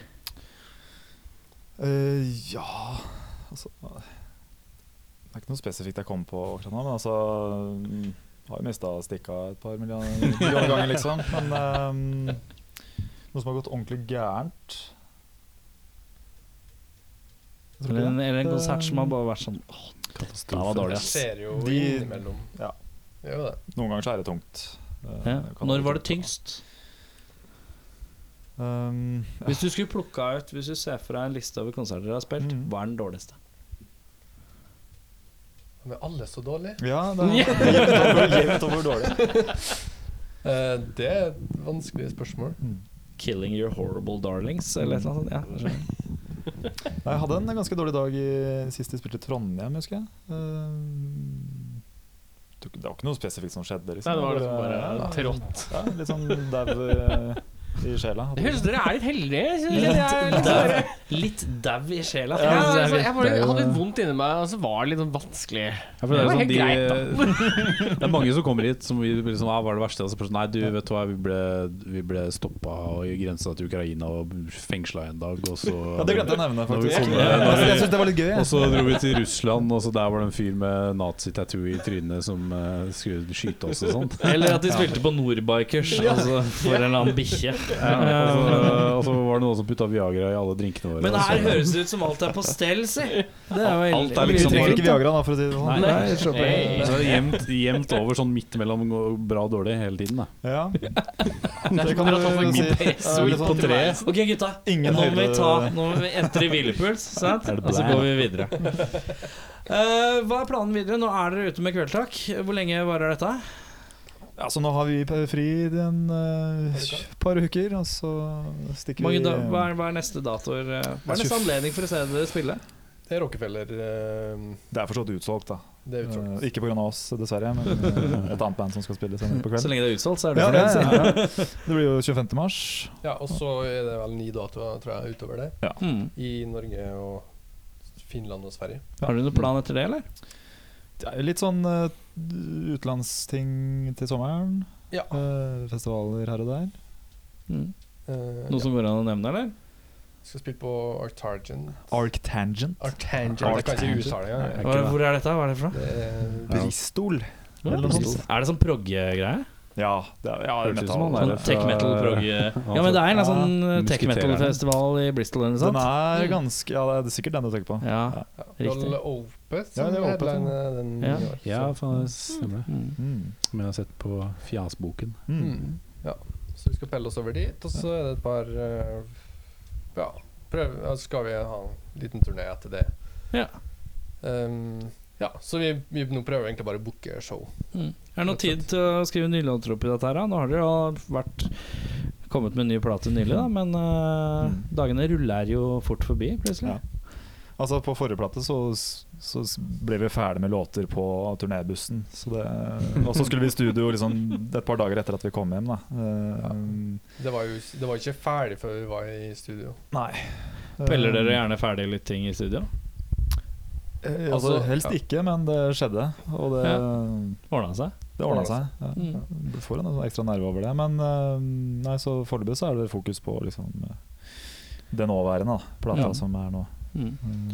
Eh, ja altså, Det er ikke noe spesifikt jeg kom på akkurat nå, men altså mm, Har jo mista stikka et par millioner millioner ganger, liksom. Men ehm, noe som har gått ordentlig gærent Jeg tror Eller ikke en, det. eller en konsert som har bare vært sånn åh, Det var dårlig, Det ass. skjer jo De- innimellom. ja. Det gjør jo det. Noen ganger så er det tungt. Eh, Ja. kan Når være var det tungt, tyngst? da. Ehm, Hvis du skulle plukka ut Hvis du ser for deg en liste over konserter dere har spilt, Mm. hva er den dårligste? Men er alle så dårlige? ja, det er jevnt over- jevnt over dårlig. Eh, det er et vanskelig spørsmål. 'Killing Your Horrible Darlings' eller et eller annet sånt? Ja, jeg skjønner. Nei, Jeg hadde en ganske dårlig dag i, sist jeg spilte i Trondheim, husker jeg. Ehm, det var ikke- det var ikke noe spesifikt som skjedde. Liksom. Nei, det var liksom ja, bare trått. ja, litt sånn dau eh, i sjela. Jeg høres dere er litt heldige. Jeg synes Litt det er litt dau. bare- Litt dau i sjela. Ja, faktisk. altså, jeg bare det er jo- hadde litt vondt inni meg, og så var det litt sånn vanskelig. Ja, for det, er Det var jo helt sånn, de, greit, (laughs) det er mange som kommer hit som vi blir sånn, ah, Hva er det verste? Og så bare sånn, Nei, du vet du hva, vi ble, vi ble stoppa og i grensa til Ukraina og fengsla en dag, og så Ja, det glemte jeg å nevne, Når vi faktisk. kom- Jeg, jeg syns det var litt gøy. Og jeg. så dro vi til Russland, og så der var det en fyr med nazi-tattoo i trynet som eh, skulle skyte oss og sånt. Eller at de spilte på Nordbikers altså, for en eller annen bikkje. og, så, og så var det noen som putta Viagra i alle drinkene våre. Men og så- her høres det ut som alt er på stell, si! (laughs) Det er jo Alt er Vi liksom trenger bare- ikke Viagra, da, for å si det sånn. Nei, jeg skjønner. Hey. Så det er jevnt, jevnt over sånn midt mellom og bra og dårlig hele tiden. Da. Ja. (laughs) Det Det kan kan dere ta du for si. mye Ja, pressord litt på sånn- tre. Ok, gutta. Ingen nå må vi høyde- ta Nå må vi entre i (laughs) hvilepuls, sant? Er det Og så blæ? går vi videre. (laughs) Eh, hva er planen videre? Nå er dere ute med Kveldtak. Hvor lenge varer dette? Ja, så nå har vi pe- fri i en eh, par uker, og så stikker Mange vi da, hva, er, hva er neste datoer? eh, Hva er neste anledning for å se dere spille? Det er Rockefeller. eh, Det er for så vidt utsolgt, da. det er utrolig. Eh, Ikke pga. oss, dessverre, men eh, et annet band som skal spille senere på Så kvelden. lenge det er utsolgt, så er Ja, dere ja, fornøyd. ja, ja. (laughs) Det blir jo 25. mars. Ja, og så er det vel ni datoer, tror jeg, utover det. så- Mm. I Norge og Finland og Sverige. Har du noen plan etter det, eller? Det er jo litt sånn eh, utenlandsting til sommeren. Ja. Eh, festivaler her og der. Mm. Eh, Noe som går an å nevne, eller? ja. Skal spille på Artargent. Arctangent. Artangent. Jeg kan ikke uttale det engang. Hva, hvor er dette? Hva er det fra? Det er- Bristol. Er Eller noe sånt. det sånn proggegreie? Ja, det er, ja, Hørtes ut som metal. han er Sånn fra- tech metal-progg Ja, men det er en eller annen sånn eh, tech metal-festival i Bristol eller noe Den sånt? er Mm. ganske Ja, det er sikkert den du tenker på. Ja, ja, riktig. Roll Opeth, Ja, som det er Opeth, headliner den Ja. i år, så- Ja, faen, det stemmer. det. Mm. Mm. Som jeg har sett på Fjasboken. Mm. Mm. Ja. Så vi skal pelle oss over dit, og så er det et par eh, Ja, prøv, ja, så skal vi ha en liten turné etter det. Ja. Ehm, ja, så vi, vi nå prøver vi egentlig bare å booke show. Mm. Er det noe tid til å skrive nylåter opp i dette her? da? Nå har dere jo vært kommet med en ny plate nylig, da, men eh, Mm. dagene ruller jo fort forbi, plutselig. Ja. Altså, på forrige plate så, så ble vi ferdig med låter på turnébussen. Så det, og så skulle vi i studio liksom, et par dager etter at vi kom hjem, da. Eh, Det var jo det var ikke ferdig før vi var i studio. Nei. Peller dere gjerne ferdig litt ting i studio? Eh, altså, Altså, helst ja. ikke, men det skjedde. Og det, Ordna seg? det ordna seg. Ja. Mm. Du får en sånn ekstra nerve over det. Men eh, nei, så foreløpig så er det fokus på liksom, eh, det nåværende, da. Plata Ja. som er nå. Mm. Mm.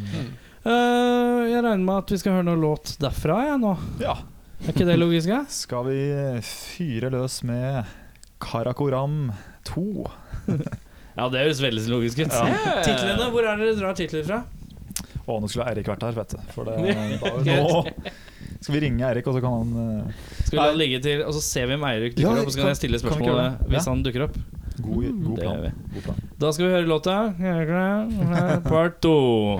Eh, jeg regner med at vi skal høre noe låt derfra, jeg, nå. Ja. Er ikke det logisk? ja? Skal vi fyre løs med Karakoram 2? Ja, det høres veldig logisk ut. Titlene, Hvor er det dere drar titler fra? Å, nå skulle Eirik vært her, vet du. (laughs) For det, nå Greit. skal vi ringe Eirik, og så kan han eh, Skal vi la det ligge til, og så ser vi om Eirik dukker Ja, opp, og så kan kan- jeg stille kan vi ikke gjøre spørsmålet det? hvis Ja. han dukker opp. God, god, Mm, Det gjør plan. vi. god plan. Da skal vi høre låta. Er dere klare? Part to.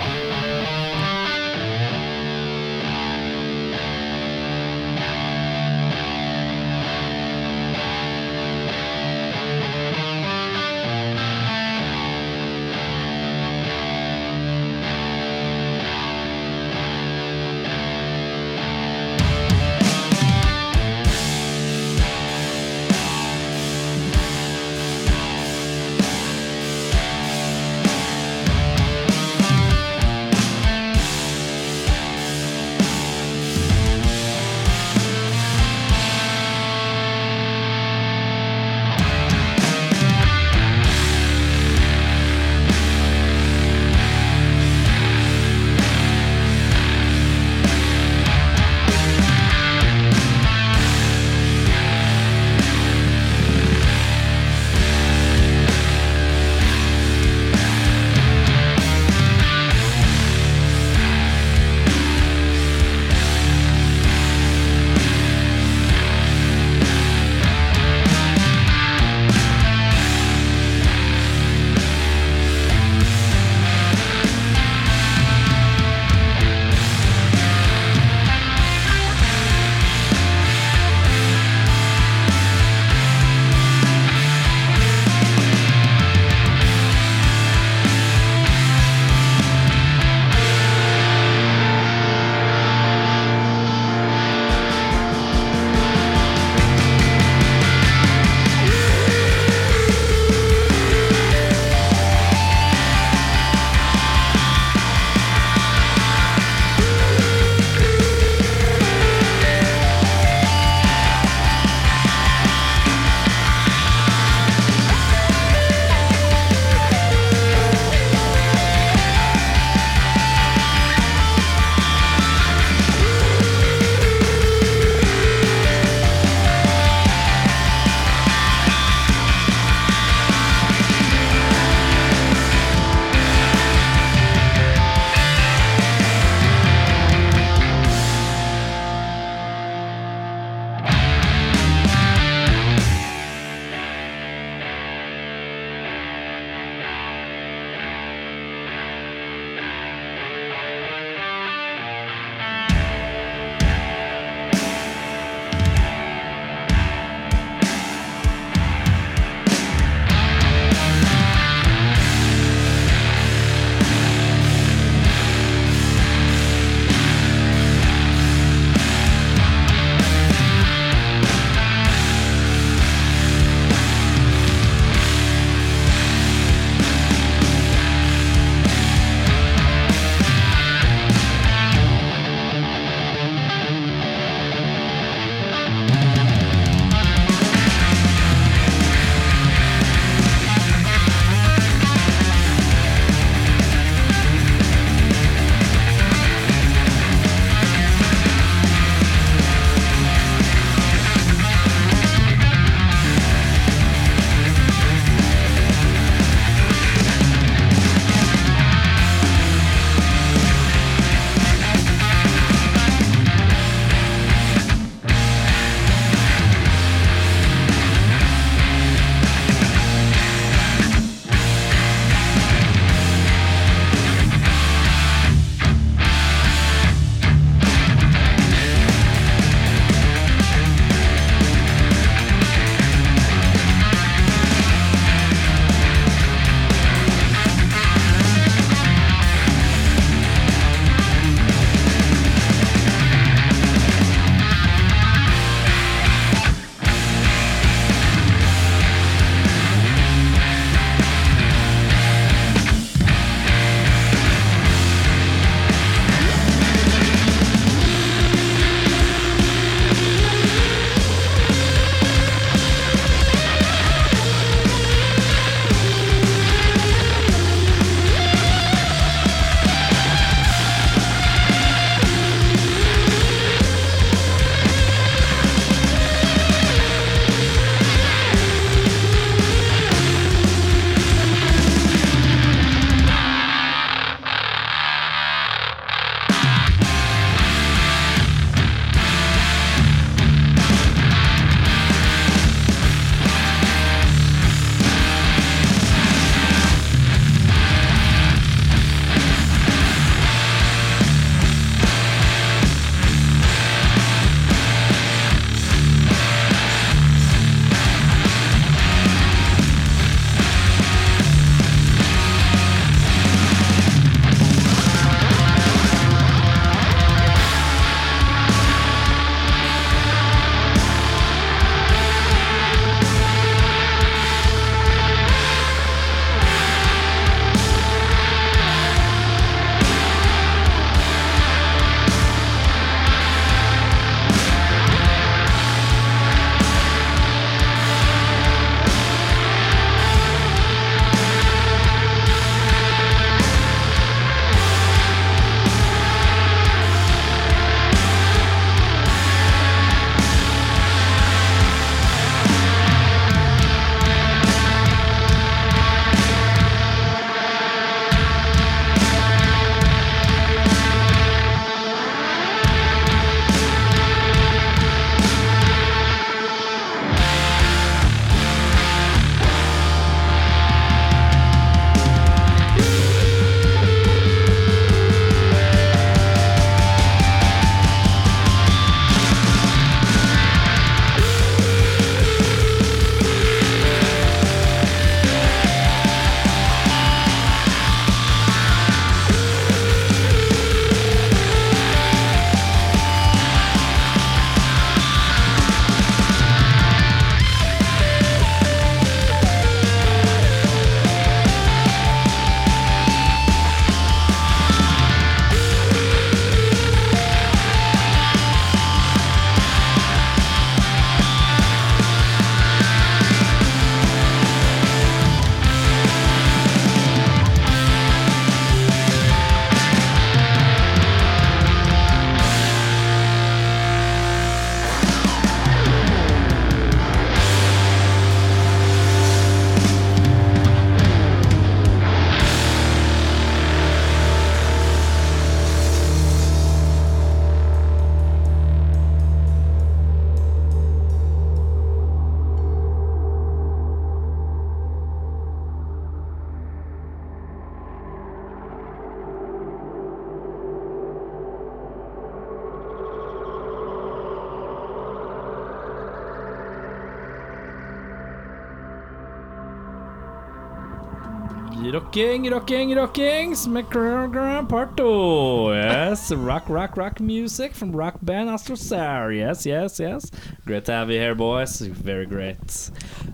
Rocking, rocking, rockings med Krogra Part 2. Yes, rock, rock, rock music from rock band Astrosaur. Yes, yes, yes. Great to have you here, boys. Very great.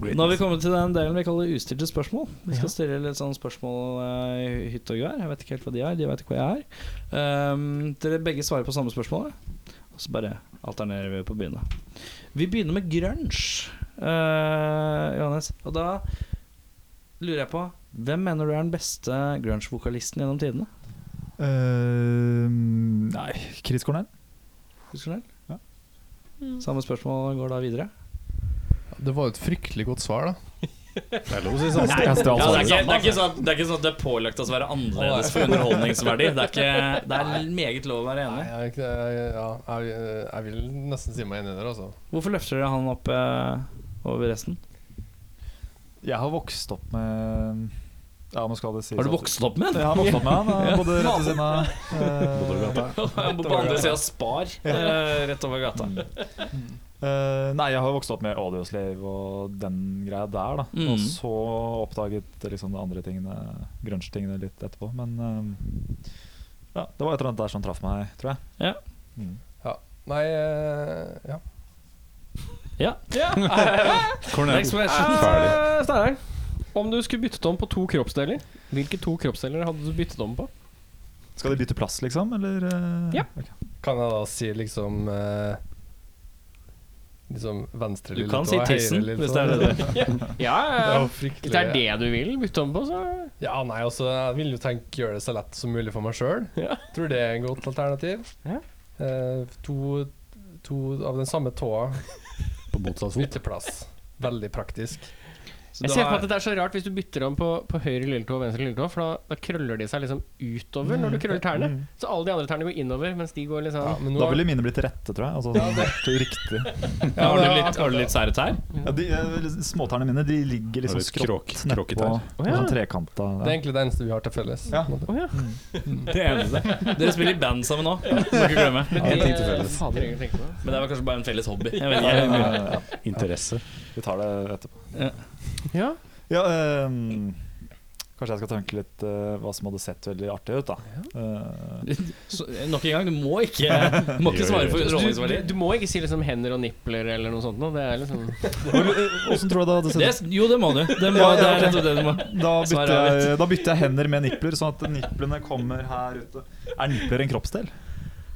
Nå har vi kommet til den delen vi kaller ustilte spørsmål. Vi skal stille litt sånne spørsmål eh, i hytte og gevær. Jeg vet ikke helt hva de er, de vet ikke hva jeg er. Ehm, dere begge svarer på samme spørsmål, og så bare alternerer vi på å begynne. Vi begynner med grunge, eh, Johannes. Og da lurer jeg på Hvem mener du er den beste grunge-vokalisten gjennom tidene? Eh, nei, Chris Cornell. Husker du den? Ja. Samme spørsmål går da videre. Det var jo et fryktelig godt svar, da. Det er lov å si sånn. Nei, Jeg (laughs) ja, det, er stjal svaret. ikke, det, er ikke sånn, det er ikke sånn at det er pålagt oss å være annerledes for underholdningsverdi. Det er, (laughs) ikke, det er meget lov å være Nei, enig. jeg, er ikke- jeg, ja, jeg, jeg vil nesten si meg enig der, altså. Hvorfor løfter dere han opp eh, over resten? Jeg har vokst opp med Ja, nå skal det sies Har du at- vokst opp med Jeg han? (laughs) har vokst opp med han. Jeg bodde rett ved siden av eh, Han bor på andre sida av (laughs) Spar, eh, rett over gata. eh, Nei, jeg har vokst opp med Audioslave og den greia der, da. Mm. Og så oppdaget liksom de andre tingene, grunge-tingene, litt etterpå. Men eh, ja, det var et eller annet der som traff meg, tror jeg. Ja. Mm. Nei, eh, ja. Ja. Cornell. Next question. Eh, Steinar, om du skulle byttet om på to kroppsdeler, hvilke to kroppsdeler hadde du byttet om på? Skal de bytte plass, liksom? Eller? eh, Ja. ok. Kan jeg da si liksom eh, Liksom venstre Du lille kan tå, si høyre tissen, lille hvis tå? det er det du Ja, Det ja, er ja. jo fryktelig Hvis det er det du vil bytte om på, så Ja, nei, altså, jeg vil jo tenke gjøre det så lett som mulig for meg sjøl. Ja. Tror det er et godt alternativ. Ja. Eh, to, to av den samme tåa, På motsatt fot. bytteplass. Veldig praktisk. Så Jeg du ser for har- meg at det er så rart hvis du bytter om på, på høyre lilletå og venstre lilletå, for da, da krøller de seg liksom utover når du krøller tærne. Mm. Så alle de andre tærne går innover, mens de går liksom Ja, men nå Da ville mine blitt til rette, tror jeg. Altså, sånn, riktig. Ja, har, du litt, har du litt sære tær? Ja, de, eh, Småtærne mine de ligger Har liksom du et skrått kråk- nedpå. kråketær? Å, ja. Sånn trekanta. Det er egentlig det eneste vi har til felles. Ja. på en måte. Å ja. Det eneste. Dere spiller i band sammen nå. Må ikke glemme. en ting til Eh, felles. fader, jeg tenkte på det. Men det var kanskje bare en felles hobby. Jeg vet Ja, ikke. ja, ja, ja. Interesse. Vi tar det etterpå. Ja. Ja, ehm, kanskje jeg skal tenke litt eh, hva som hadde sett veldig artig ut, da. Eh, Så, nok en gang, du må ikke, du må ikke svare for Du, du, underholdningsverdi. du må ikke si liksom hender og nipler eller noe sånt noe. Det er liksom hvor- Hvordan tror du det hadde sett Det, ut? jo, det må du. Det, må, Ja, ja, det er ok. rett og slett det du må. Da Svaret bytter, er jeg, da bytter jeg hender med nipler, sånn at niplene kommer her ute. Er nipler en kroppsdel?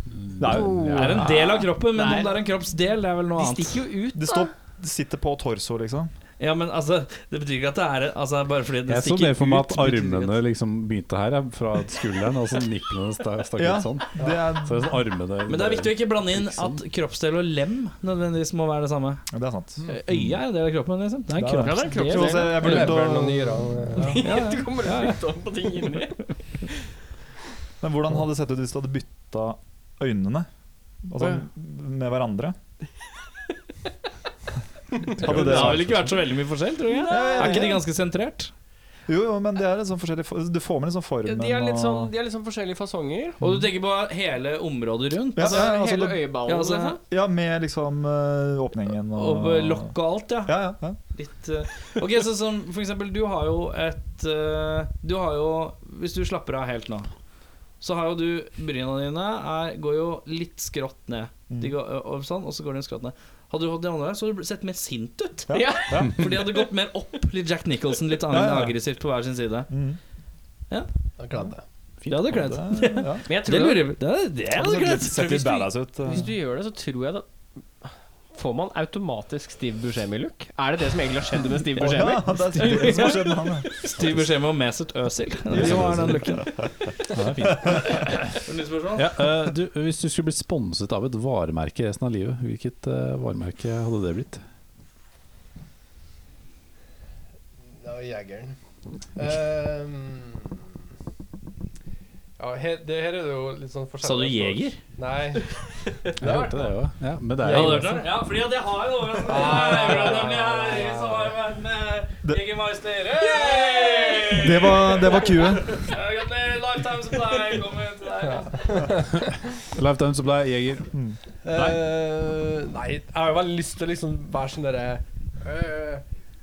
Det er, jo- Det er en del av kroppen, men om det er en kroppsdel, det er vel noe De annet. stikker jo ut, (laughs) det står, det sitter på torso, liksom. Ja, men altså, det betyr ikke at det er altså, Bare fordi det Jeg så stikker ut mer for meg at betyr ikke armene liksom begynte her, ja, fra skulderen, og så niplene sta- stakk Ja. ut sånn. Det er, Så det er sånn armene Men det er viktig å ikke sånn. blande inn at kroppsdel og lem nødvendigvis må være det samme. det er sant. Mm. Øya er en del av kroppen, liksom. Det er en Det er det. Ja, det er en kroppsdel. Så også, jeg vurderte Leveren og å- nyrene. Ja. Ja, ja. Du kommer Ja, ja. litt om på ting inni. Men hvordan hadde det sett ut hvis du hadde bytta øynene? Altså med hverandre? Hadde det Det har vel ikke vært så veldig mye forskjell, tror jeg. Er ikke de ganske sentrert? Jo, jo, men det er litt sånn forskjellig for- Du får med litt sånn Ja, formen de, er litt sånn, og de er litt sånn forskjellige fasonger. Og du tenker på hele området rundt? Ja, altså, ja, altså, Hele det- øyeballen. ja, altså, liksom. Ja, med liksom eh, åpningen og og eh, lokk og alt, ja. Ja, ja. ja. Litt eh, Ok, så som for eksempel, du har jo et eh, Du har jo Hvis du slapper av helt nå, så har jo du Bryna dine er, går jo litt skrått ned. Mm. De går ø- over sånn, og så går de skrått ned. Hadde du hatt de andre der, så hadde du bl- sett mer sint ut. Ja, For de hadde gått mer opp, litt Jack Nicholson, litt Ja, ja, ja. aggressivt på hver sin side. Mm. Jeg glemte det. Det hadde kledd. Det, ja. Men jeg Det tror lurer jeg Det det hadde Det kledd. ser litt badass ut. eh. Hvis du gjør det, så tror jeg da Får man automatisk Steve Buscemi-look? Er det det som egentlig har skjedd med Steve Buscemi? Ja, det er sikkert det som har skjedd med han. ja. Styr beskjed med å meset Øsil. (laughs) De har den looken. Nytt spørsmål? Ja, eh, du, hvis du skulle blitt sponset av et varemerke resten av livet, hvilket eh, varemerke hadde det blitt? Det var jegeren. Ehm, ja, he, det her er det jo litt sånn forskjellig Sa du jeger? Nei. Jeg hørte det, ja. ja men det er Ja, jo det hørte jeg. Ja, fordi at jeg har en overraskelse. Jeg er i samarbeid med Det- Jeger Meister. Det var, det var cue. Gratulerer, Lifetime Supply kommer til deg. Lifetime Supply, Jeger. Eh, nei, jeg har jo veldig lyst til å liksom være sånn derre eh, eh,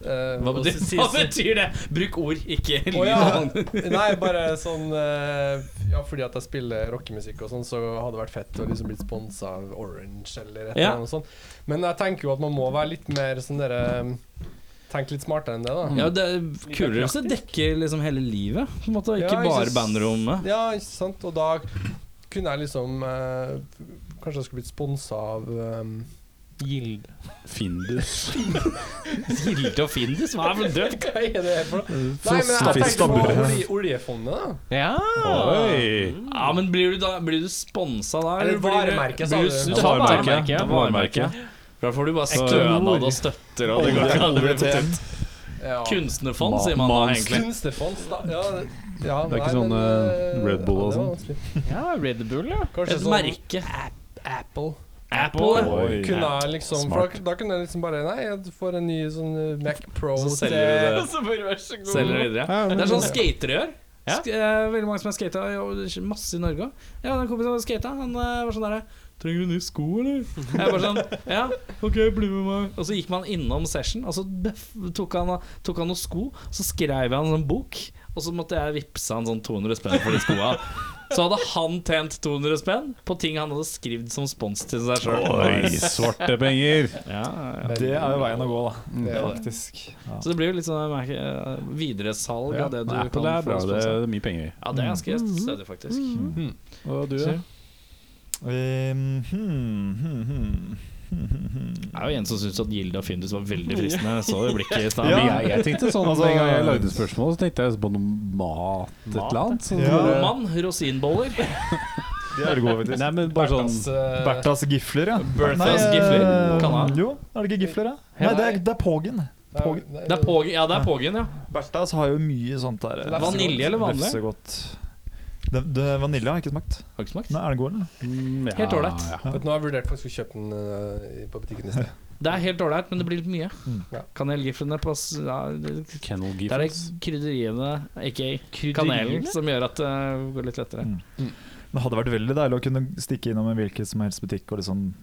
eh, Hva og betyr, så sies- hva betyr det? Bruk ord, ikke lyd. Å ja. Nei, bare sånn eh, Ja, fordi at jeg spiller rockemusikk og sånn, så hadde det vært fett å liksom blitt sponsa av Orange eller et Ja. eller annet sånt. Men jeg tenker jo at man må være litt mer sånn dere Tenk litt smartere enn det, da. (laughs) Ja, det er kulere hvis det dekker liksom hele livet, på en måte. Ja, Ikke jeg bare synes- bandrommet. Ja, ikke sant? Og da kunne jeg liksom eh, Kanskje jeg skulle blitt sponsa av eh, Gild. Findus. Hilde og liksom. Findus, hva er vel død? Hva er det for Mm. noe? Nei, men jeg Frossefist tenker på og olje, oljefondet, da. Ja. Oi! Ja, men blir du, da, blir du sponsa da? Eller blir du- varemerke, sa blir du. du. Ja, Du tar varemerke, varemerke. ja. Ja, varemerke. Da får du bare Ekte stønad ord. og støtter og det går ikke an. Det blir for tøft. Ja. Kunstnerfond, Ma- sier man da Mans- egentlig. Kunstnerfond, da. Ja, det- ja, Det er ikke nei, sånn, eh, men, Red Bull og ja, det var sånn. vanskelig. ja, Red Bull, ja. Kanskje Et sånn merke. Apple. Apple. ja. Oi. Kunne jeg liksom for Smart. da, da kunne jeg liksom bare Nei, jeg får en ny sånn eh, Mac Pro Så til selger du (laughs) det. Så bare vær så god. Selger det videre. Ja, men- Det er sånn skatere gjør. Ja. Sk eh, veldig mange som har skata, og det er masse i Norge òg. Ja, den kompisen som skata, han eh, var sånn derre Trenger du nye sko, eller? Jeg bare sånn Ja, OK, bli med meg. Og så gikk man innom session, og så bøff, tok han, tok han noen sko, så skrev jeg en sånn bok, og så måtte jeg vippse han sånn 200 spenn for de skoa. Så hadde han tjent 200 spenn på ting han hadde skrevet som spons til seg sjøl. Oi, svarte penger! Mm. Ja, ja. Det er jo veien å gå, da. Det er det. Faktisk. Ja. Så det blir jo litt sånn jeg merker, eh, videresalg Ja, av det du men Apple kan er bra. få Det sponset. er mye penger. Ja, det er ganske stødig, faktisk. Og du, ja? Vi- hmm, hmm, hmm. Det er jo en som syns at Gilde og Findus var veldig fristende. Jeg så det blikket i stad. Ja. Jeg, jeg tenkte sånn altså, Altså- En gang jeg lagde spørsmål, så tenkte jeg på noe mat, et eller annet. Så Ja. bare- Mann, rosinboller. De er gode, faktisk. Nei, men bare sånn Bertas, eh, Berthas gifler, ja. Berthas Nei, eh, gifler, kan han. Jo, er det ikke gifler, da? Nei, det er, det er Pågen. nei, Pågen. nei, Det er pågen, ja. det er pågen, ja Berthas har jo mye sånt der. eh, Vanilje eller vanlig? Lefsegodt. Det, det, vanilje har jeg ikke smakt. Har ikke smakt. Nei, er den god, eller? Mm, ja, Helt ålreit. ja. Vet du, Nå har jeg vurdert faktisk å kjøpe den eh, i- på (laughs) butikken i sted. Det er helt ålreit, men det blir litt mye. Ja. Kanelgiflene på s- ja, Det Kennel det er det Giffens. krydderiene, aka kanelen, som gjør at eh, det går litt lettere. Det hadde vært veldig deilig å kunne stikke innom en hvilken som helst butikk og liksom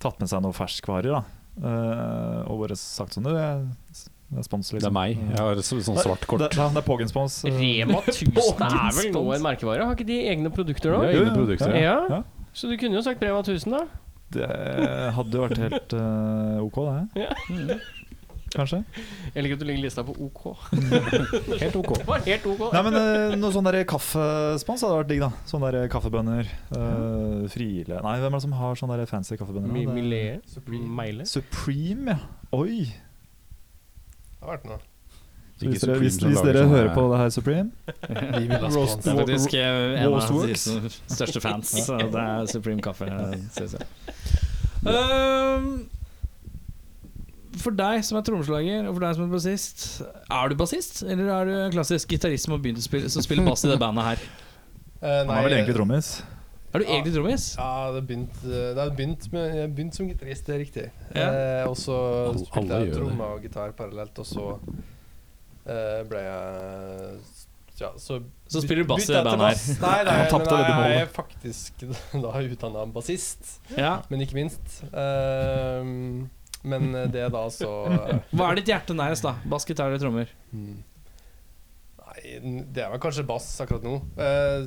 tatt med seg noen ferskvarer. da Eh, Og bare sagt sånn Du, jeg jeg er spons, Det er liksom. meg. Jeg har så- sånn svart kort. Det, det, det er (laughs) Pågen-spons. Rema 1000 er vel nå en merkevare? Har ikke de egne produkter Vi nå? har Jo, egne jo, produkter. Ja. Ja. Så du kunne jo sagt Rema 1000, da. Det hadde jo vært helt eh, OK, det. Ja. Kanskje. Jeg liker at du legger lista på OK. Helt ok. Det var helt OK. Nei, men eh, noe sånn der kaffespons hadde vært digg, da. Sånne der kaffebønner. eh, Friele Nei, hvem er det som har sånne der fancy kaffebønner? Mi- da? Det- Millet. Supreme. Meile. Supreme, ja. Oi. Det har vært noe. Hvis dere, hvis, hvis dere sånn hører på det her, Supreme Vi vil ha spons. Det er faktisk eh, en av de Roastworks. som- største (laughs) fans. så Det er Supreme Kaffe, synes jeg. Ehm, for deg som er trommeslager, og for deg som er bassist Er du bassist, eller er du klassisk gitarist som har begynt å spille, som spiller bass i det bandet her? Eh, Han er vel egentlig trommis. Er du Ja. egentlig trommis? Ja, det begynte det har begynt med, jeg begynte som gitarist, det er riktig. Ja. Eh, og så Alle- spilte alle jeg gjør det. trommer og gitar parallelt, og så eh, ble jeg ja, så, Så spiller du bass i bytte jeg det til bandet bass. Nei, (laughs) nei, Han tapte men dette jeg målet. er faktisk (laughs) da utdanna bassist, Ja. men ikke minst. Ehm, men det da så eh, Hva er ditt hjerte nærest, da? Bass, gitar eller trommer? hmm. Nei, det er vel kanskje bass akkurat nå. Eh,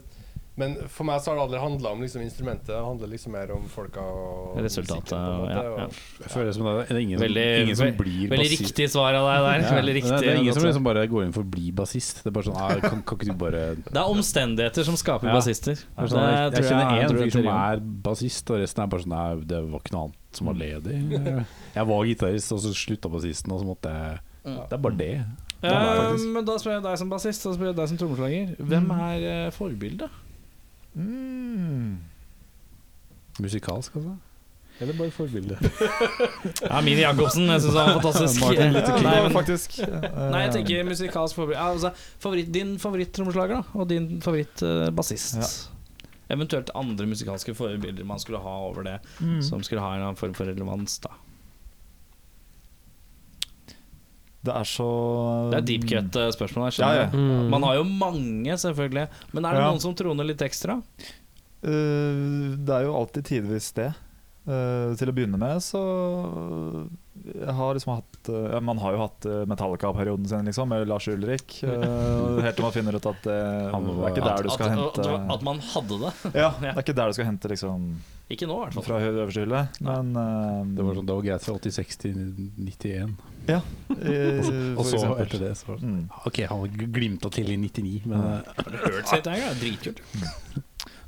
men for meg så har det aldri handla om liksom, instrumentet, det handler liksom mer om folka og Resultatet, musikken, på en måte, ja, og- ja. Jeg føler det som det er ingen, Veldig- ingen som Veldig blir bassist. riktig svar av deg der. Ja. Veldig Det er- riktig Det er ingen som Det liksom bare går inn for å bli bassist. Det er bare sånn ah, kan, kan ikke du bare er omstendigheter som skaper Ja. bassister. Det er sånn, jeg, jeg tror kjenner jeg én tror fyr jeg som teorien. er bassist, og resten er bare sånn Nei, det var ikke noe annet som var (laughs) ledig. Jeg var gitarist, og så slutta bassisten, og så måtte jeg Det er bare det. Eh, men da spør jeg deg som bassist, og så spør jeg deg som trommeslager. Hvem er eh, forbildet? Mm. Musikalsk, altså. Eller bare forbilde. Ja, Mini Jacobsen. Jeg syns han var fantastisk. Martin Luther King, nei, men, faktisk. nei, jeg tenker musikalsk forbilde. Ja, altså, favoritt, din favoritt-trommeslager, da. Og din favoritt-bassist. Eventuelt andre musikalske forbilder man skulle ha over det, mm. som skulle ha en eller annen form for relevans, da. Det er så Det er deep cut-spørsmål her. Ja, skjønner ja. jeg. Mm. Man har jo mange, selvfølgelig. Men er det Ja. noen som troner litt ekstra? Eh, det er jo alltid tidvis det. Eh, til å begynne med så jeg har liksom hatt eh, ja, Man har jo hatt eh, Metallica-perioden sin, liksom, med Lars Ulrik. eh, helt til man finner ut at det, (laughs) Han det var- er ikke der du skal at, hente At, at man hadde det. (laughs) Ja, det er ikke der du skal hente liksom Ikke nå, i hvert fall. fra hø- øverste hylle, men (laughs) eh, Det var, sånn, det var greit fra 86 til 91. Ja. eh, Og for så eksempel. etter det så var det sånn, Mm. Ok, han glimta til i 99, men eh, Hurt sitt er jo dritkult.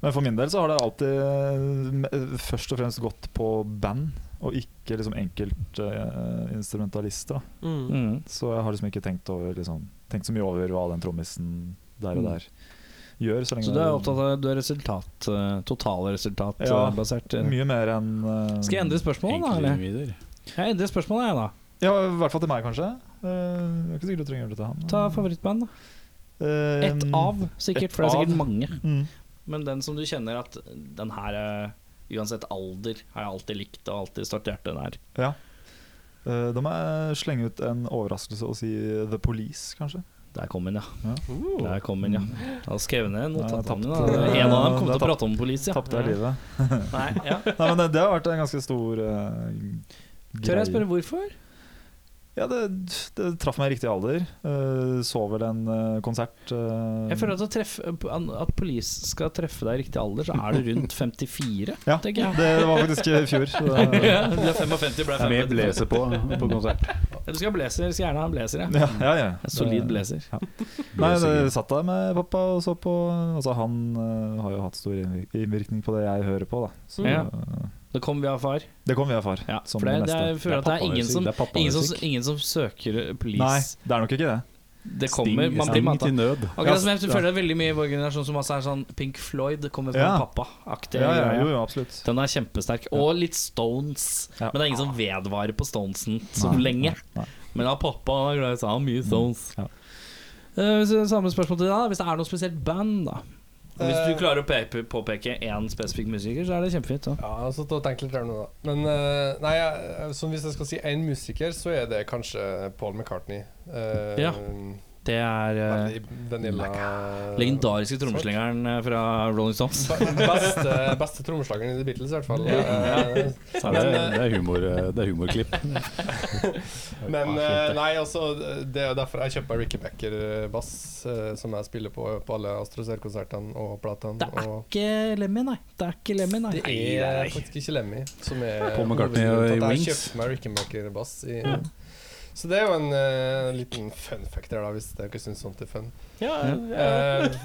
Men for min del så har det alltid eh, først og fremst gått på band, og ikke liksom eh, enkeltinstrumentalister. Mm. så jeg har liksom ikke tenkt, over, liksom, tenkt så mye over hva den trommisen der og der gjør. Så, lenge Mm. Så du er opptatt av du er resultat, eh, totalresultat Ja. eh, basert, eh. mye mer enn eh, Skal jeg endre spørsmålet, da? Eller? enkeltindivider. Jeg endrer spørsmålet, jeg, da. Ja, I hvert fall til meg, kanskje. Eh, det er ikke sikkert du trenger å gjøre det til han. Ta favorittband, da. Eh, Ett av, sikkert. ett For det er sikkert av. mange. Mm. Men den som du kjenner at den her eh, Uansett alder har jeg alltid likt og alltid stått hjertet nær. Ja. Eh, da må jeg slenge ut en overraskelse og si The Police, kanskje. Der kom den, ja. Ja. Der kom den, ja. Jeg har skrevet ned notatene. Ja, da. jeg tapte. En av dem kom til Det å er prate om politi. Ja. Tapte jeg livet. Nei, ja. Nei, men det, det har vært en ganske stor eh, Tør jeg greie. spørre hvorfor? Ja, det, det traff meg i riktig alder. Eh, så vel en eh, konsert eh, Jeg føler at, å treffe, at police skal treffe deg i riktig alder, så er du rundt (laughs) 54, Ja, det, tenker jeg. det var faktisk i fjor. (laughs) Så det, Ja, Du er 55, ble Med 55. blazer på på konsert. Ja, Du skal ha blazer, skal gjerne ha en blazer, ja. ja, ja, ja. En solid blazer. Nei, jeg satt der med pappa og så på Altså, han eh, har jo hatt stor innvir- innvirkning på det jeg hører på, da. Så Ja. eh, Da kom vi av far. det kommer vi av far. Mm. Ja, som for det, det det er, meste. jeg føler at det er ingen som, Det er ingen som, pappamusikk. ingen som søker Nei, police. det er nok ikke det. Det kommer, man blir Sting mata. til nød. Akkurat som jeg føler det er veldig mye i vår generasjon som også er sånn Pink Floyd det kommer fra Ja. pappa-aktig. Ja, ja, jo, jo, absolutt. Den er kjempesterk. Og litt Stones. Ja. Men det er ingen som vedvarer på Stonesen så Nei, lenge. nei, nei. Men ja, pappa er glad i seg. Han har mye Stones. ja. Eh, hvis- samme spørsmål til deg, da. Hvis det er noe spesielt band, da. Og Hvis Eh. du klarer å pe- påpeke én spesifikk musiker, så er det kjempefint. Da. Ja, jeg har satt og tenkt litt her nå, da. Men eh, nei, jeg, som hvis jeg skal si én musiker, så er det kanskje Paul McCartney. Eh, Ja. Det er eh, Veldig vanilla legendariske trommeslingeren eh, fra Rolling Stones. Be- Beste, beste trommeslageren i The Beatles, i hvert fall. Eh, Ja, det, er- det, er humor, eh, det er humorklipp. Men Ah, eh, fint, nei, altså Det er jo derfor jeg kjøper Ricky Becker-bass, eh, som jeg spiller på på alle Astrosaur-konsertene og platene. Det er Og ikke Lemmy, nei. Det er ikke Lemmy, nei. det er faktisk ikke Lemmy som er Paul McCartney hovedgrunnen i til at Wings. Jeg kjøpte meg Ricky Becker-bass. i- Så det er jo en eh, liten fun fact der, da, hvis dere syns sånt er fun. Eh,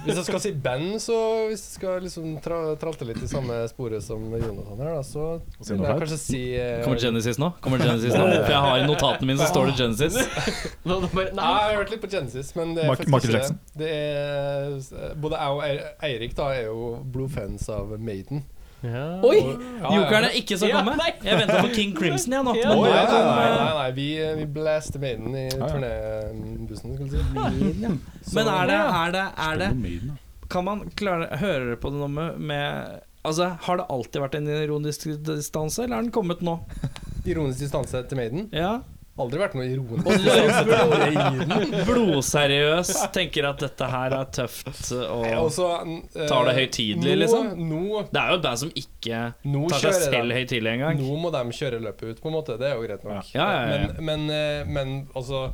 hvis jeg skal si band, så hvis jeg skal liksom tra tralte litt i samme sporet som Jonathan her, da, så vil jeg kanskje si eh, Kommer Genesis nå? Kommer Genesis nå? For jeg har i notatene mine så står det Genesis. Nei, jeg har hørt litt på Genesis, men det er Mark- faktisk Michael ikke Jackson. Det Det er, eh, både jeg og Eir- Eirik da er jo blodfans av Maiden. Oi! Ja, Jokeren ja. er ikke skal komme. Jeg venta på King Crimson, jeg nå. Å, Men ja, nå nei, kom, nei, eh, nei, nei, vi, vi blaster Maiden i ja. turnébussen, skulle jeg si. Så- Men er det, er det, er det Myden, da. Kan man klare Hører dere på det nå med, med Altså, Har det alltid vært en ironisk distanse, eller har den kommet nå? Ironisk distanse til Maiden? Ja Aldri vært noe ironisk Og du distanse er til Maiden. Blodseriøs, tenker at dette her er tøft Og og så, eh, Tar det høytidelig, liksom? Nå, Det er jo et band som ikke nå, nå tar seg kjører selv de. høytidelig engang. Nå må de kjøre løpet ut, på en måte. Det er jo greit nok. Ja, ja, ja, ja. Men, men, eh, men altså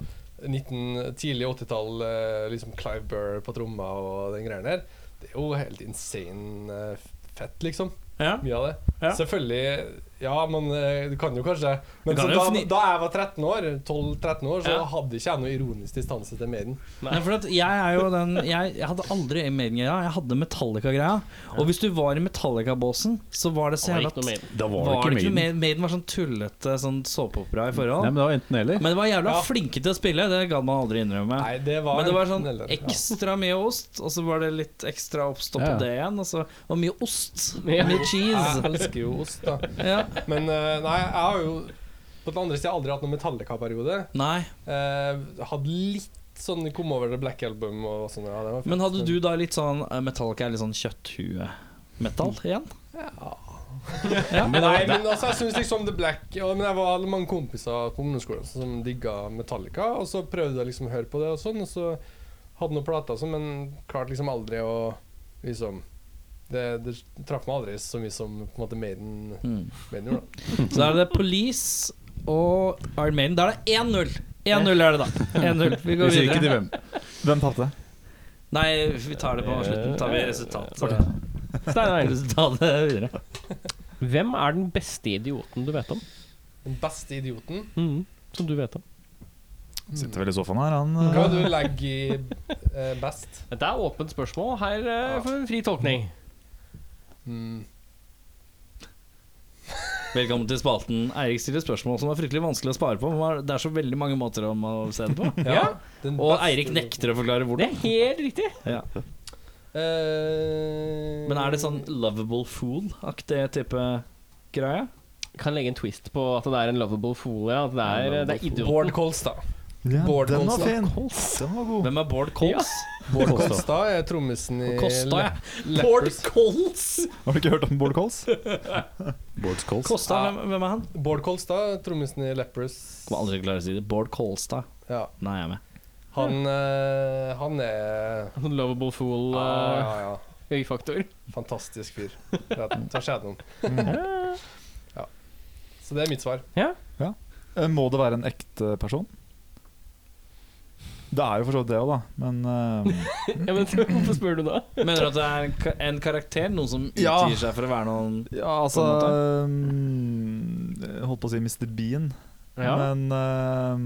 19, Tidlig 80-tall, eh, liksom Clive Burr på tromma og den greia der, det er jo helt insane eh, fett, liksom. Ja. Mye av det. Ja. Selvfølgelig Ja, men eh, du kan jo kanskje Men Du kan så jo da, fni- da jeg var 13 år, 12-13 år, så Ja. hadde ikke jeg noe ironisk distanse til Maiden. Nei, for at jeg er jo den Jeg, jeg hadde aldri Maiden-greia. Jeg hadde Metallica-greia. Og hvis du var i Metallica-båsen, så var det så jævla Da var, Var det ikke noe Maiden. Maiden? Maiden var sånn tullete sånn såpeopera i forhold. Nei, men det var enten eller. Men det var jævla Ja. flinke til å spille, det gadd man aldri innrømme. Nei, det var, Men det var sånn eller- ja. ekstra mye ost, og så var det litt ekstra oppstopp på Ja, ja. det igjen. Og så var det mye ost. Mye cheese. Jeg elsker jo ost, da. Ja. Men eh, nei, jeg har jo på den andre siden aldri hatt noen Metallica-periode. Nei. Eh, hadde litt sånn Kom over det Black Album og sånn. Ja, det var fett. Men hadde du da litt sånn eh, Metallica er litt sånn kjøtthue-metal igjen? Men Nei, men altså, jeg syns liksom The Black ja, Men jeg var mange kompiser på ungdomsskolen som digga Metallica, og så prøvde jeg liksom å høre på det og sånn, og så hadde noen plater og sånn, men klarte liksom aldri å liksom Det, det traff meg aldri så mye som på en måte Maiden, Mm. Maiden gjorde. da. Så da er det Police og Iron Maiden. Da er det 1-0. 1-0 er det, (laughs) da. 1-0. Vi Vi går sier ikke til videre. hvem. Hvem tapte? Nei, vi tar det på slutten. Tar vi resultat. Steinar, Resultatet videre. hvem er den beste idioten du vet om? Den beste idioten. Mm, som du vet om? Sitter vel i sofaen her, Mm. han. Hva eh, er det du legger i eh, best? Dette er åpent spørsmål. Her eh, får vi fri tolkning. Mm. Velkommen til spalten. Eirik stiller spørsmål som er fryktelig vanskelig å spare på. men Det er så veldig mange måter om å se (laughs) det på. Ja, den Og beste Eirik idioten. nekter å forklare Det hvordan. er helt riktig. Eh, Men er det sånn lovable fool-aktig type greie? Kan legge en twist på at det er en lovable fool. Ja. At det er, det er idioten. Bård Kolstad. Ja, Bård den var Kolstad. fin! Den var god. Hvem er Bård Kols? Bård Kolstad er trommisen i Kosta, ja. Eh, Le- Bård Leppers. Kols! Har du ikke hørt om Bård Kols? (laughs) Bård Kols. Kosta, hvem, hvem er han? Bård Kolstad, trommisen i Lepros. Kommer aldri til å klare å si det. Bård Kolstad. Ja. Nei, jeg er med. Han, eh, han er (laughs) Sånn Lovable fool. ja, eh, ja, ja. Øyefaktor. Fantastisk fyr. Rett- Tar skjeden om. Mm. Ja. Så det er mitt svar. Eh, Må det være en ekte person? Det er jo for så vidt det òg, da, men (laughs) eh, (laughs) Ja, men Hvorfor spør du da? Mener du at det er en ka- en karakter? Noen som utgir Ja. seg for å være noen Ja, altså eh, Holdt på å si Mr. Bean, men eh,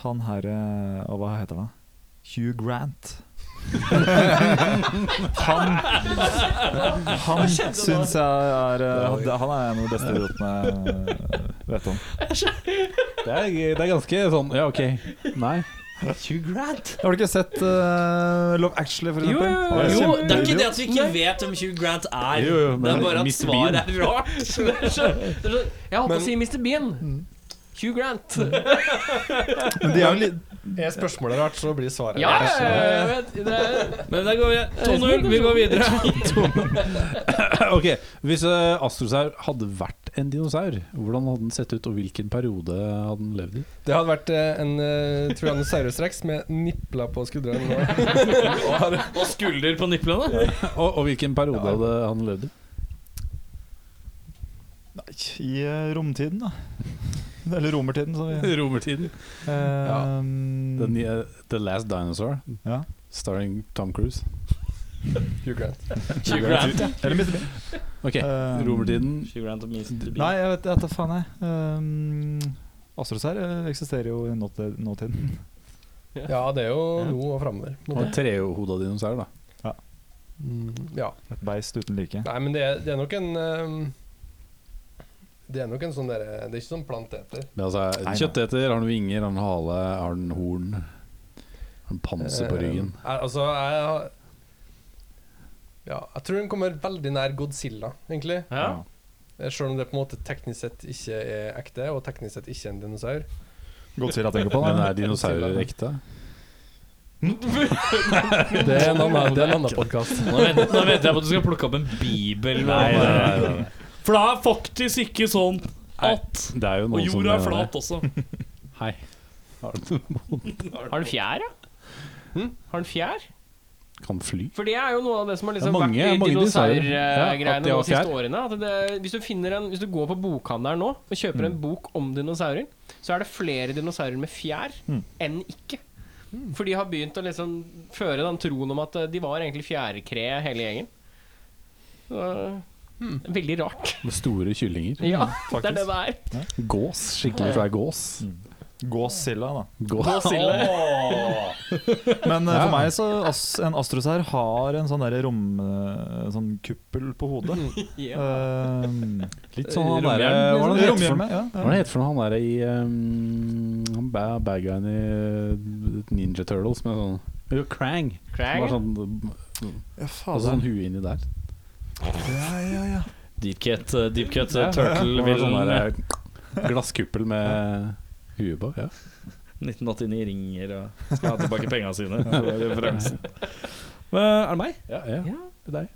han herre Å, hva heter han? Hugh Grant. (laughs) han han syns jeg er eh, Han er en av de beste idiotene jeg vet om. Det er, det er ganske sånn Ja, OK. Nei. Hugh Grant? Har du ikke sett eh, Love Actually, for Jo, eksempel? jo, jo. Han er Jo, kjempe- det er ikke det at vi ikke vet hvem Hugh Grant er. Jo, jo, det men er bare at Mr. svaret er (laughs) (laughs) rart. Det er så- det er så- Jeg holdt på Men- å si Mr. Bean. Hugh Grant. Men de er jo litt Er spørsmålet rart, så blir svaret (laughs) Ja, rart. jeg vet det er- Men der går vi 2-0. Vi går videre. Ok, Hvis eh, astrosaur hadde vært en dinosaur, hvordan hadde den sett ut, og hvilken periode hadde den levd i? (laughs) Det hadde vært eh, en uh, Tyrannosaurus rex med nipler på skuldrene. nå. Og (laughs) skulder på niplene. Og, og hvilken periode Ja. hadde han levd i? Nei, i eh, romtiden, da. Eller romertiden, som vi (laughs) Romertiden. Eh, The, nye- the Last Dinosaur, ja. starring Tom Cruise. Hugh Grant. Hugh Grant, ja. Eller Mr. Bean. Ok, Eh, romertiden. Hugh Grant og Mr. Nei, Bean. jeg vet jeg vet da faen, jeg. Um, Astrosær eh, eksisterer jo i nåti- nåtiden. Ja, det er jo nå og framover. Og en trehoda dinosaur, da. Mm, Ja. Et beist uten like. Nei, men det er, det er nok en ehm, Det er nok en sånn derre Det er ikke sånn planteter. Men altså, Nei, nei. Kjøtteter, har den vinger, har den hale, har den horn? Har den panser på Eh, ryggen? jeg- altså, jeg har- Ja, jeg tror den kommer veldig nær Godzilla, egentlig. Ja. Eh, Selv om det på en måte teknisk sett ikke er ekte, og teknisk sett ikke en dinosaur. Godt sier jeg tenker på. Men Da. er dinosaurer ekte? Det er en (laughs) annen, det er en annen podkast. Nå vent- nå venter jeg på at du skal plukke opp en bibel. For det er faktisk ikke sånn at Det er jo Og noen som eh, jorda er mener det. flat også. Hei. Har den fjær, da? Hm? Har den fjær? Kan fly? For det er jo noe av det som har Det liksom er mange- vært i mange dinosaurer. Ja, dinosaurgreiene at de har de siste fjær. årene. At det, hvis, du finner en, hvis du går på bokhandelen nå og kjøper Mm. en bok om dinosaurer, så er det flere dinosaurer med fjær Mm. enn ikke. For de har begynt å liksom føre den troen om at eh, de var egentlig fjærkre, hele gjengen. Så, Mm. Veldig rart. Med store kyllinger? (laughs) Ja, faktisk. det er det det er. Gås? Skikkelig svær gås? Gåsilla, (laughs) da. Gås. Men eh, for meg så as, en astrosær har en sånn der rom... eh, sånn kuppel på hodet. eh, Ja. Um, Litt sånn han derre liksom. Romhjelm, Hva er det han heter for Romhjelme, ja. Hva er det han heter for noe, han derre i um, Han ba- bad guyen i uh, Ninja Turtles med sånn Jo, Krang. Som har Krang. sånn, Ja, og sånn faen. hue inni der. Ja, ja, ja. (laughs) Deep cut, uh, deep cut uh, turtle Det var sånn villain. der, eh, Glasskuppel med hue på. Ja. 1989 ringer og skal ha tilbake pengene sine. Det var referansen. Men er det meg? Ja, ja. Det er deg.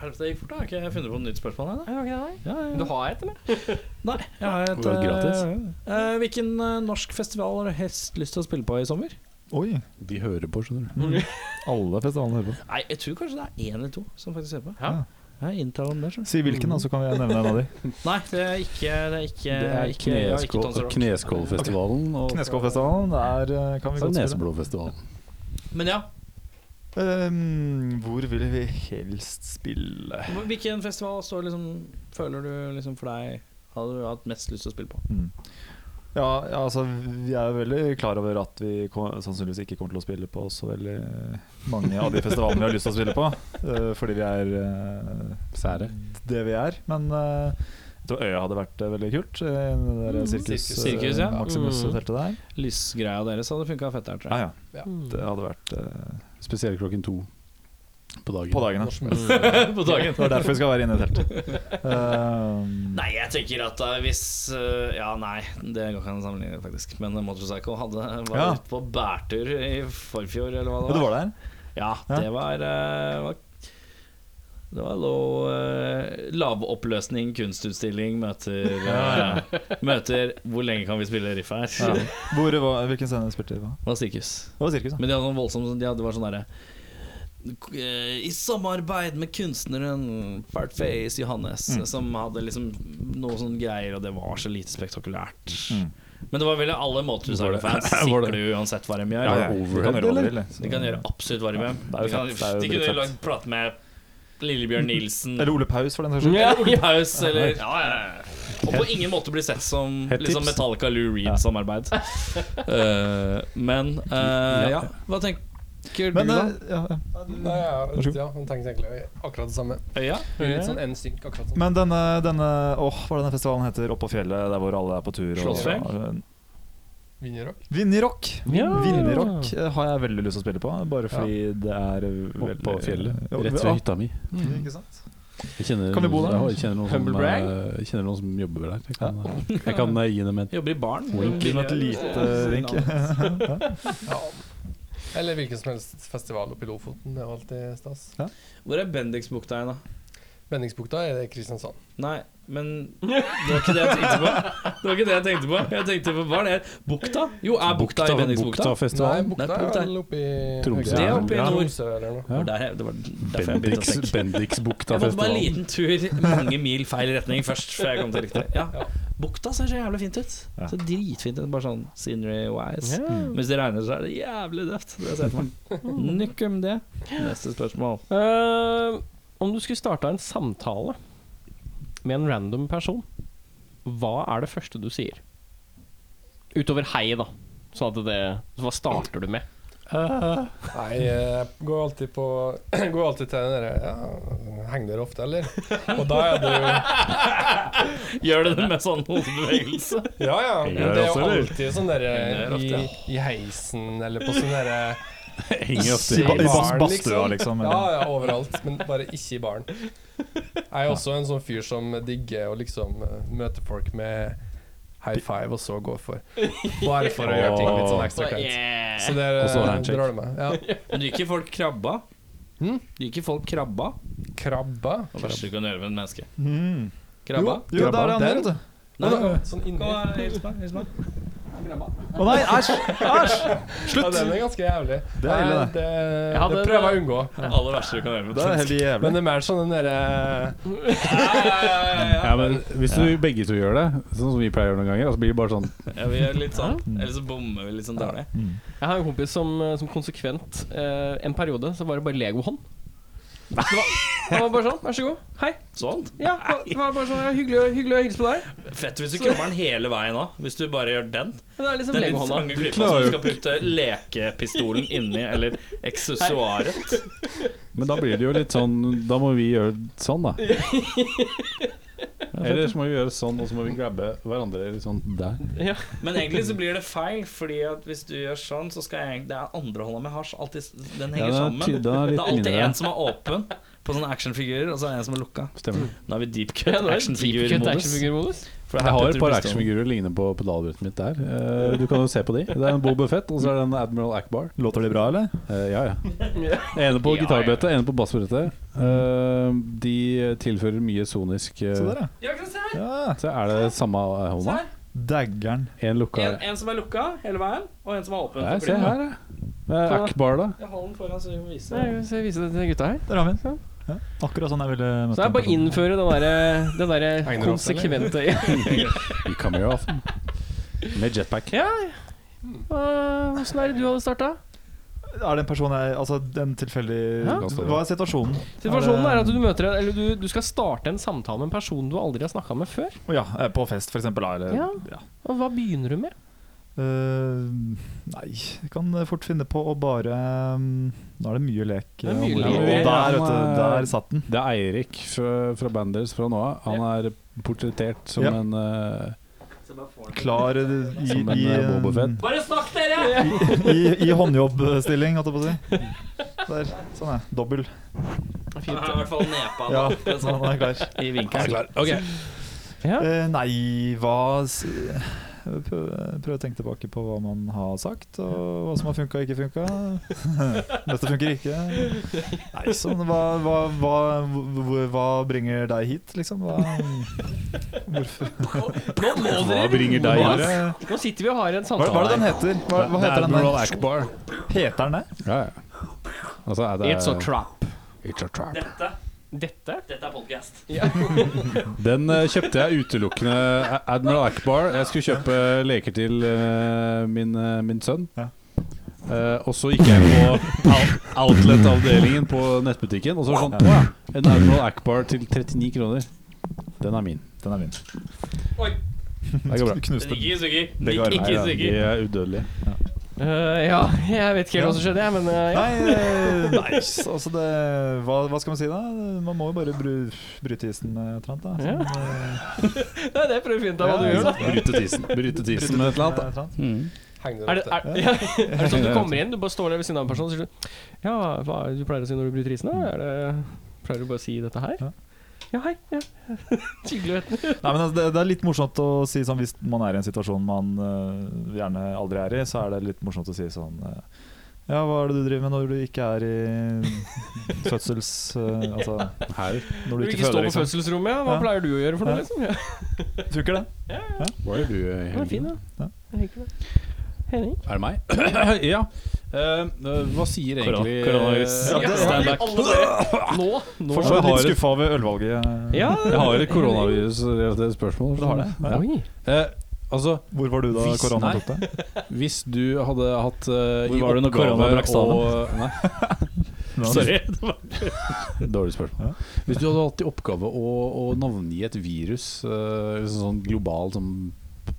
Helvete, det gikk fort. da. Har ikke jeg funnet på et nytt spørsmål? her, da? Er det ikke det der? Ja, sånn- Du har et, eller? Nei, jeg har et Det var gratis. eh, eh, Hvilken eh, norsk festival har du helst lyst til å spille på i sommer? Oi! De hører på, skjønner du. Alle festivalene hører på. Nei, jeg tror kanskje det er én eller to som faktisk hører på. Ja. Jeg inntaler dem der, skjønner Si hvilken, da, så kan vi nevne en av de. du. Nei, det er ikke Det er ikke, Det er ikke, ja, ikke Tons Kneskål- Rock. Kneskålfestivalen og Kneskålfestivalen der eh, kan vi så er godt det spille. Neseblodfestivalen. Men ja, Ehm, hvor vil vi helst spille? hvilken festival står liksom føler du liksom for deg hadde du hatt mest lyst til å spille på? Mm. Ja, ja, altså vi er veldig klar over at vi ko- sannsynligvis ikke kommer til å spille på så veldig mange av de festivalene vi har lyst til å spille på. eh, fordi vi er eh, Sære. det vi er. Men eh, jeg tror Øya hadde vært eh, veldig kult. eh, Det der sirkus, Sirkus. Sirkus, ja. eh, Maximus-teltet der. Lysgreia deres hadde funka fett der, tror Ja, jeg. ja. Det hadde vært eh, Spesielt klokken to på dagen. på dagen. Norsk Ja. musikk. (laughs) på dagen. Det er derfor vi skal være inne i teltet. Eh, Nei, jeg tenker at eh, hvis eh, Ja, nei, det går ikke an å sammenligne, faktisk. Men eh, Motorcycle hadde var Ja. ute på bærtur i forfjor, eller hva ja, det Eh, du var. var der? Ja, Ja. det var, eh, var Det var low, eh, lavoppløsning kunstutstilling møter eh, Møter Hvor lenge kan vi spille riff her? Ja. Hvor, var- hvilken scene spilte dere på? Det var sirkus. Det var sirkus, ja. (laughs) Men de hadde noe voldsomt De hadde var sånn derre eh, I samarbeid med kunstneren Fartface Johannes, Mm. som hadde liksom noe sånn greier, og det var så lite spektakulært. Mm. Men det var vel alle Motorcycle-fans (laughs) Var sikler det- du uansett hva de gjør. Ja, ja. det Vi kan overhead, gjøre hva vi eller? vil, så- De kan gjøre absolutt hva de vil. det er jo De kan- fett, det er jo De veldig kunne fett. lagd prate med Lillebjørn Nilsen. Eller Ole Paus, for den saks skyld. Ja, Ole Paus, eller ja, ja, ja. Og på ingen måte bli sett som Hett liksom tips. Metallica Lou (laughs) Reed-samarbeid. Eh, men eh, ja, hva tenker Men du, da? eh, ja, ja. Nei, ja, Vær så god. ja, jeg tenkte egentlig akkurat det samme. Øya? Blir Litt sånn NSYNC, akkurat sånn. Men denne, denne Åh, hva er denne festivalen heter? Oppå fjellet, der hvor alle er på tur. og- eh, Slottsfjell? Vinjerock. Vinjerock! Ja. Vinjerock eh, har jeg veldig lyst til å spille på, bare fordi det er veldig Oppå fjellet. Ja, Rett ja. ved hytta mi. Ikke sant? Jeg kjenner, Kan vi bo der? Ja, Jeg kjenner noen, som, Humble brag? eh, jeg kjenner noen som jobber der. Jeg kan, eh, jeg kan eh, gi dem en Jobber i baren. Wink. Kun et lite vink. Ja. Eller hvilken som helst festival oppe i Lofoten. Det er jo alltid stas. Hvor er Bendiksbukta igjen, da? Bendingsbukta er det Kristiansand. Nei, men det var ikke det jeg tenkte på. Det var ikke det Jeg tenkte på Jeg tenkte på hva er det Bukta? Jo, er bukta i Bendiksbukta? Nei, Buktafestivalen. bukta Nei, er bukta er- vel oppe i Tromsø. Høgda. Det er oppe i Ja. nord. Tromsø eller noe. Ja. Og der, det var derfor jeg begynte å Bendiks, tenke. Jeg måtte bare en Bendiksbuktafestivalen. liten tur mange mil feil retning først, før jeg kom til riktig. Ja. Bukta ser så jævlig fint ut. Ja. Så Dritfint ut, bare sånn scenery-wise. Mens det regner, så er det jævlig døvt. Det ser jeg (laughs) for meg. Nukk om det. Neste spørsmål. Eh, om du skulle starta en samtale med en random person, hva er det første du sier? Utover hei, da. Så at det, hva starter du med? Nei, jeg går alltid på (clears throat) Går alltid til den derre ja, Henger dere ofte, eller? Og da er det jo (laughs) Gjør det med sånn hodebevegelse. Ja, ja. Henger Men det dere er ofte, jo eller? alltid sånn Henger derre dere i, i heisen eller på sånn derre Henger I, ofte (laughs) ba- i (laughs) i bas- Barn, badstua, liksom. liksom. Ja, Eller. ja, overalt, men bare ikke i baren. Jeg er også en sånn fyr som digger å liksom eh, møte folk med high five og så gå for. Bare for å gjøre ting litt sånn ekstra kleint. Så Men det Og så eh, handshake. drar det meg. Ja. Ryker folk krabba? Hm? Ryker folk krabba? Krabba. Det verste du kan gjøre med et menneske. Mm. Krabba? Jo, jo, der er han der, Den? vet du. Nei, nei. Sånn inni. Kom og hils meg. hils meg. Å nei, æsj! Æsj! Ja, den er ganske jævlig. Det er ille, Nei, det. det, Ja, det det- prøver jeg å unngå. Det aller verste du kan gjøre med et Det er helt menneske. jævlig. Men det er mer sånn den derre Ja, men Hvis du begge to gjør det, sånn som vi pleier å gjøre noen ganger, så blir det bare sånn Ja, vi gjør litt sånn. Eller så bommer vi litt sånn dårlig. Jeg har en kompis som, som konsekvent eh, En periode så var det bare legohånd. Det var- Han var bare sånn. Vær så god. Hei. Sånn. Ja, det var bare sånn, ja, hyggelig, å- hyggelig å hilse på deg. Fett hvis du krabber den hele veien òg, hvis du bare gjør den. Men Det er liksom Den litt sånn legohånda. trange klypa som du skal putte lekepistolen inni, eller eksessoaret. Men da blir det jo litt sånn Da må vi gjøre sånn, da. Eller så må vi gjøre sånn, og så må vi grabbe hverandre litt sånn der. Ja. Men egentlig så blir det feil, fordi at hvis du gjør sånn, så skal jeg Det er andre hånda mi har så alltid Den henger Ja, det er sammen. tydelig, Det det er er litt alltid mindre. en som er åpen på sånne actionfigurer, og så er det en som er lukka. Stemmer. Da er vi deep Ja, cut det var en deep cut actionfigurmodus. actionfigurmodus. For det Jeg er har et Petter par Pistolen. actionfigurer lignende på pedalbrettet mitt der. Eh, Du kan jo se på de. Det er en Boba Fett, og så er det en Admiral Akbar. Låter det bra, eller? Eh, ja, (laughs) ja. Ene på Ja, gitarbrettet, ene på bassbrettet. Eh, de tilfører mye sonisk eh, Se der, ja. Ja, ikke sant, se her. ja. Så er det samme eh, hånda? Daggeren. En lukka En, her. en som er lukka hele veien, og en som er åpen. Nei, for se blikket. her, ja. Det er Akbar, da. Jeg har den foran, så vi må vise Nei, Skal jeg vise det til gutta her? Der har vi den. Ja. Akkurat sånn jeg ville Så møtt det er bare den å personen. innføre den derre den der Egner oss, eller? konsekvente You come (laughs) here often. sånn. Med jetpack. Ja. Åssen er det du hadde starta? Er det en person jeg Altså, en tilfeldig Hæ? Hva er situasjonen? Situasjonen er at det- du møter en, eller du, du skal starte en samtale med en person du aldri har snakka med før. Å Ja, eh, på fest, for eksempel. da, Eller, Ja. Og hva begynner du med? Eh, nei, jeg kan fort finne på å bare mm, Nå er det mye lek. er eh, mye om lek. bordet. Ja, Og der, vet du, han er- der satt den. Det er Eirik fra, fra bandet deres fra nå av. Han er portrettert som Ja. en eh, Klar eh, i, Som en, i, eh, Boba Fett. Bare snakk, dere! i, i håndjobbstilling, holdt jeg på å si. Der. Sånn, ja. Dobbel. Fint. I hvert fall nepa Ja, sånn, han er klar. I vinkelen. Ja. Eh, nei, hva s- jeg prøv- Prøv å tenke tilbake på hva man har sagt, og hva som har funka og ikke funka. (laughs) Dette funker ikke. Nei, sånn hva, hva, hva, hvor- hva bringer deg hit, liksom? Hva, hvorfor Nå må dere bringer deg hva, er hit? det- Nå sitter vi og har en hva, hva er samtale. det den heter? Hva, hva heter den Admiral der? Akbar. Heter den det? Ja, ja. Altså, er det It's a trap. It's a trap. Dette, Dette? dette er podcast. Den eh, kjøpte jeg utelukkende A- Admiral Akbar. Jeg skulle kjøpe leker til eh, min, eh, min sønn. Ja. Eh, og så gikk jeg på out- outlet-avdelingen på nettbutikken, og så var det sånn Å ja, en Admiral Akbar til 39 kroner. Den er min. Den er min. Oi. Det går bra. Knuste Ikke i stykker. begge Nikk armene. ikke i De stykker. er udødelige. Øh, ja, (laughs) jeg vet ikke helt hva som skjedde, jeg, men øh, ja. Nei, eh, nei, s- altså det hva, hva skal man si da? Man må jo bare bru, bryte isen med et eller annet. Da. Ja. (laughs) Sånn, eh, Det er det jeg prøver å finne ut av hva du Ja, gjør, da. Bryte tisen. Bryte tisen med et eller annet. et eller annet. Hmm. Heng deg Er det, rundt det. er, ja. (laughs) er det sånn at du kommer inn, du bare står der ved siden av en person og sier du, Ja, hva er det du pleier å si når du bryter isen? da? Er det, pleier du bare å si dette her? Ja. Ja, hei. Ja. (laughs) Hyggelig å vite. Nei, men altså, det, det er litt morsomt å si sånn hvis man er i en situasjon man eh, gjerne aldri er i, så er det litt morsomt å si sånn eh, Ja, hva er det du driver med når du ikke er (laughs) i fødsels... eh, altså Her. Du når du vil ikke ikke stå føder, på liksom. fødselsrommet, ja. Hva Ja. pleier du å gjøre for noe, Ja. liksom? Ja. Funker det? Hva gjør du i Den er fin, helgen? da. Ja. Jeg liker det. Henning? Er det meg? (clears throat) ja. Eh, hva sier Korona- egentlig eh, Koronavirus. Ja, det- Stand back. Alle dere. Nå! nå. Fortsatt. Fortsatt litt skuffa over ølvalget. eh. Ah. Ja. Jeg har et koronavirusrelatert spørsmål. Du har det? Ja. Oi. Eh, altså, Hvor var du da Hvis- korona nei. tok deg? hvis du hadde hatt eh, Hvor i var du når oppgave korona brakk sammen? å- Nei, Sorry. dårlig spørsmål. Hvis du hadde hatt i oppgave å, å navngi et virus, eh, sånn global sånn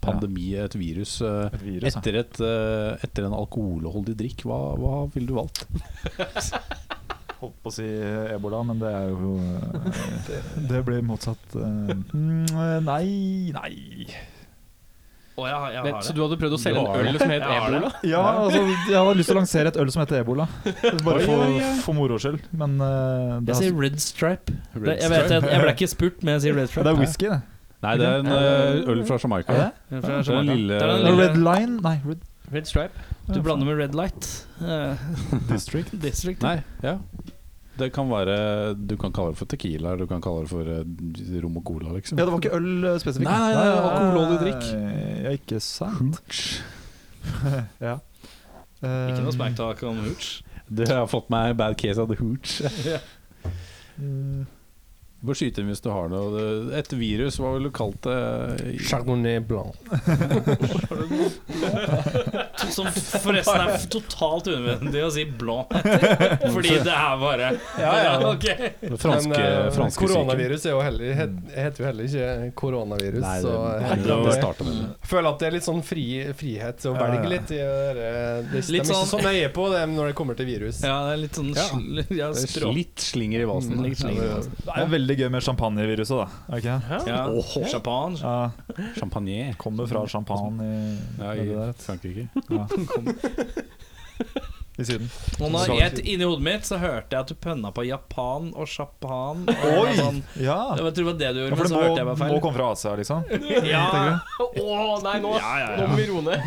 pandemi, et virus, eh, Et virus, ja. etter, et, eh, etter en alkoholholdig drikk, hva, hva ville du valgt? Holdt på å si eh, ebola, men det er jo eh, Det blir motsatt. eh. Mm, eh, Nei, nei Å, jeg har- jeg Men, har så det. du hadde prøvd å selge Du en har øl som het Jeg har det. ebola? Ja, altså, jeg hadde lyst til å lansere et øl som heter (laughs) ebola. Bare for, for moro skyld. Men eh, Jeg det, har, sier Red Stripe. Red Det, jeg, vet, jeg, jeg ble ikke spurt, men jeg sier Red det Stripe. er whisky, det. Nei, det er en eh, øl fra Jamaica. Er det? Det Det er sånn er den den lille- Eller lille- Red Line? Nei, Red Red Stripe. Du blander med Red Light. Eh, District. District. Nei, ja det kan være, Du kan kalle det for tequila, du kan kalle det for eh, rom og cola, liksom. Ja, det var ikke øl eh, spesifikt. Nei, nei, nei, alkoholholdig drikk. Ja, ikke sant. (laughs) ja. Ikke noe Eh, smacktalk om hooch. Du har fått meg bad case of the (laughs) hooch. mm, Du bør skyte inn hvis du har noe. Det- Et virus, hva ville du kalt det? Chardonnay blanc. Som forresten er totalt unødvendig å si (laughs) blå Fordi det er bare ok. Det franske, Men eh, franske syken. koronavirus er jo heller, het- Mm. heter jo heller ikke koronavirus. Nei, så det, heller det, det ikke. startet med det. Jeg føler at det er litt sånn fri, frihet til å Ja, velge ja. litt. I det, der- eh, det, Litt de er ikke sånn- så nøye på det når det kommer til virus. Ja, det er litt sånn Ja. sl- ja, Det er strå. litt sånn slinger i vasen. Litt sånn, slinger i vasen. det er jo veldig gøy med champagneviruset, da. Er det ikke det? Ja. Japan. Ja, Champagne. kommer fra champagne i, Ja, nedi i der, Frankrike. i Syden. Og når jeg, inni hodet mitt så hørte jeg at du pønna på Japan og Japan. Og Oi! Sånn. Ja. Jeg tror det var det du ja gjorde, men for det så hørte jeg må, meg må feil. komme fra Asia, liksom. Ja. Å nei, nå, nå må vi roe ned.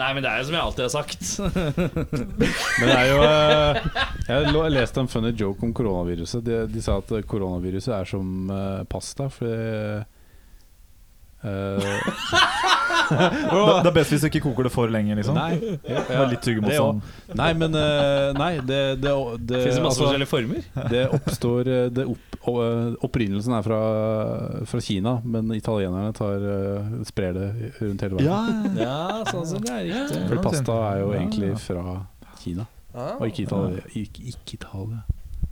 Nei, men det er jo som jeg alltid har sagt. Men det er jo eh, Jeg lo- leste en funny joke om koronaviruset. De, de sa at eh, koronaviruset er som eh, pasta, for det eh, Det er best hvis du ikke koker det for lenge, liksom. Nei, Med litt det tyggemotstand. også. Nei, men eh, Nei, det, det, det, Fins det masse altså, forskjellige former? det oppstår eh, det opp, o- Opprinnelsen er fra, fra Kina, men italienerne tar, eh, sprer det rundt hele verden. Ja, sånn som det er riktig. For pasta er jo Ja, egentlig ja. fra Kina, Ah. og ikke Italia. Ikke, ikke Italia.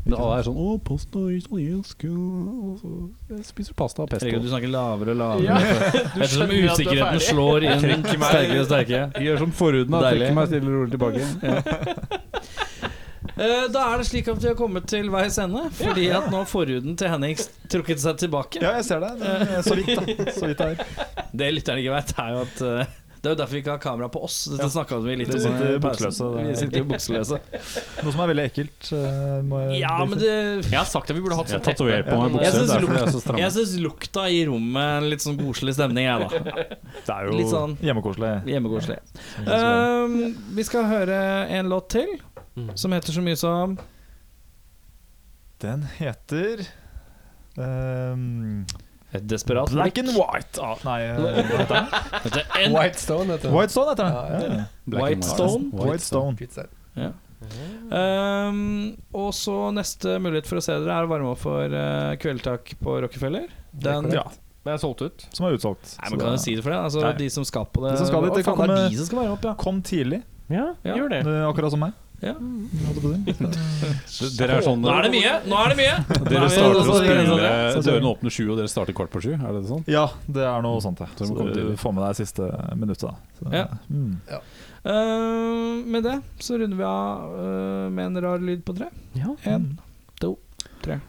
Men alle er sånn 'Å, pasta er italiensk', ja, og så- jeg spiser pasta og Herregud, pesto. du snakker lavere og lavere. Ettersom usikkerheten slår inn (laughs) sterkere og sterkere. Gjør som forhuden, da. Deilig. Trekker meg stille og rolig (laughs) tilbake. Eh, Da er det slik at vi har kommet til veis ende, fordi at nå har forhuden til Henning trukket seg tilbake. Ja, jeg ser det. det er så vidt, da. Så vidt det er. Det lytterne ikke vet, er jo at eh, det er jo derfor vi ikke har kamera på oss. Dette snakket vi litt Vi om sitter i pausen. bukseløse, det er- Vi sitter jo bukseløse. Noe som er veldig ekkelt. eh, Må jeg Ja, men det Jeg har sagt at vi burde hatt sånn teppe. Tatovert på meg Jeg bukse, synes derfor er jeg så stram. Jeg syns lukta gir rommet en litt sånn koselig stemning, jeg, da. Det er jo Litt sånn- hjemmekoselig. Hjemmekoselig. Um, vi skal høre en låt til, som heter så mye som Den heter ehm, Et desperat Black and White. Ah, nei, eh, hva heter den? White Stone, heter den. White Stone heter den. Ja, Ja, ja. Black and White Stone? White Stone. Pizza. Um, og så neste mulighet for å se dere er å varme opp for uh, Kveldtak på Rockefeller. Den Ja, Det er solgt ut. som er utsolgt. Nei, man kan jo si det for det. Altså, Nei. de som skal på det. De som skal Å, dit, det kan faen, det komme- er de som skal være opp, ja. Kom tidlig, Ja, Ja. gjør det. eh, akkurat som meg. Ja. Holdt jeg på å si. Dere er sånn Nå er det mye! Nå er det (laughs) sånn- mye! Nå er Dere vi- nå starter å er vi- spille Dørene åpner sju, og dere starter kvart på sju? Er det sånn? Ja, det er noe sånt, ja. Så du må Så komme du tidlig. får med deg siste minuttet. da. Så, Ja. Mm. Eh, med det så runder vi av eh, med en rar lyd på tre. Ja. En, to, tre.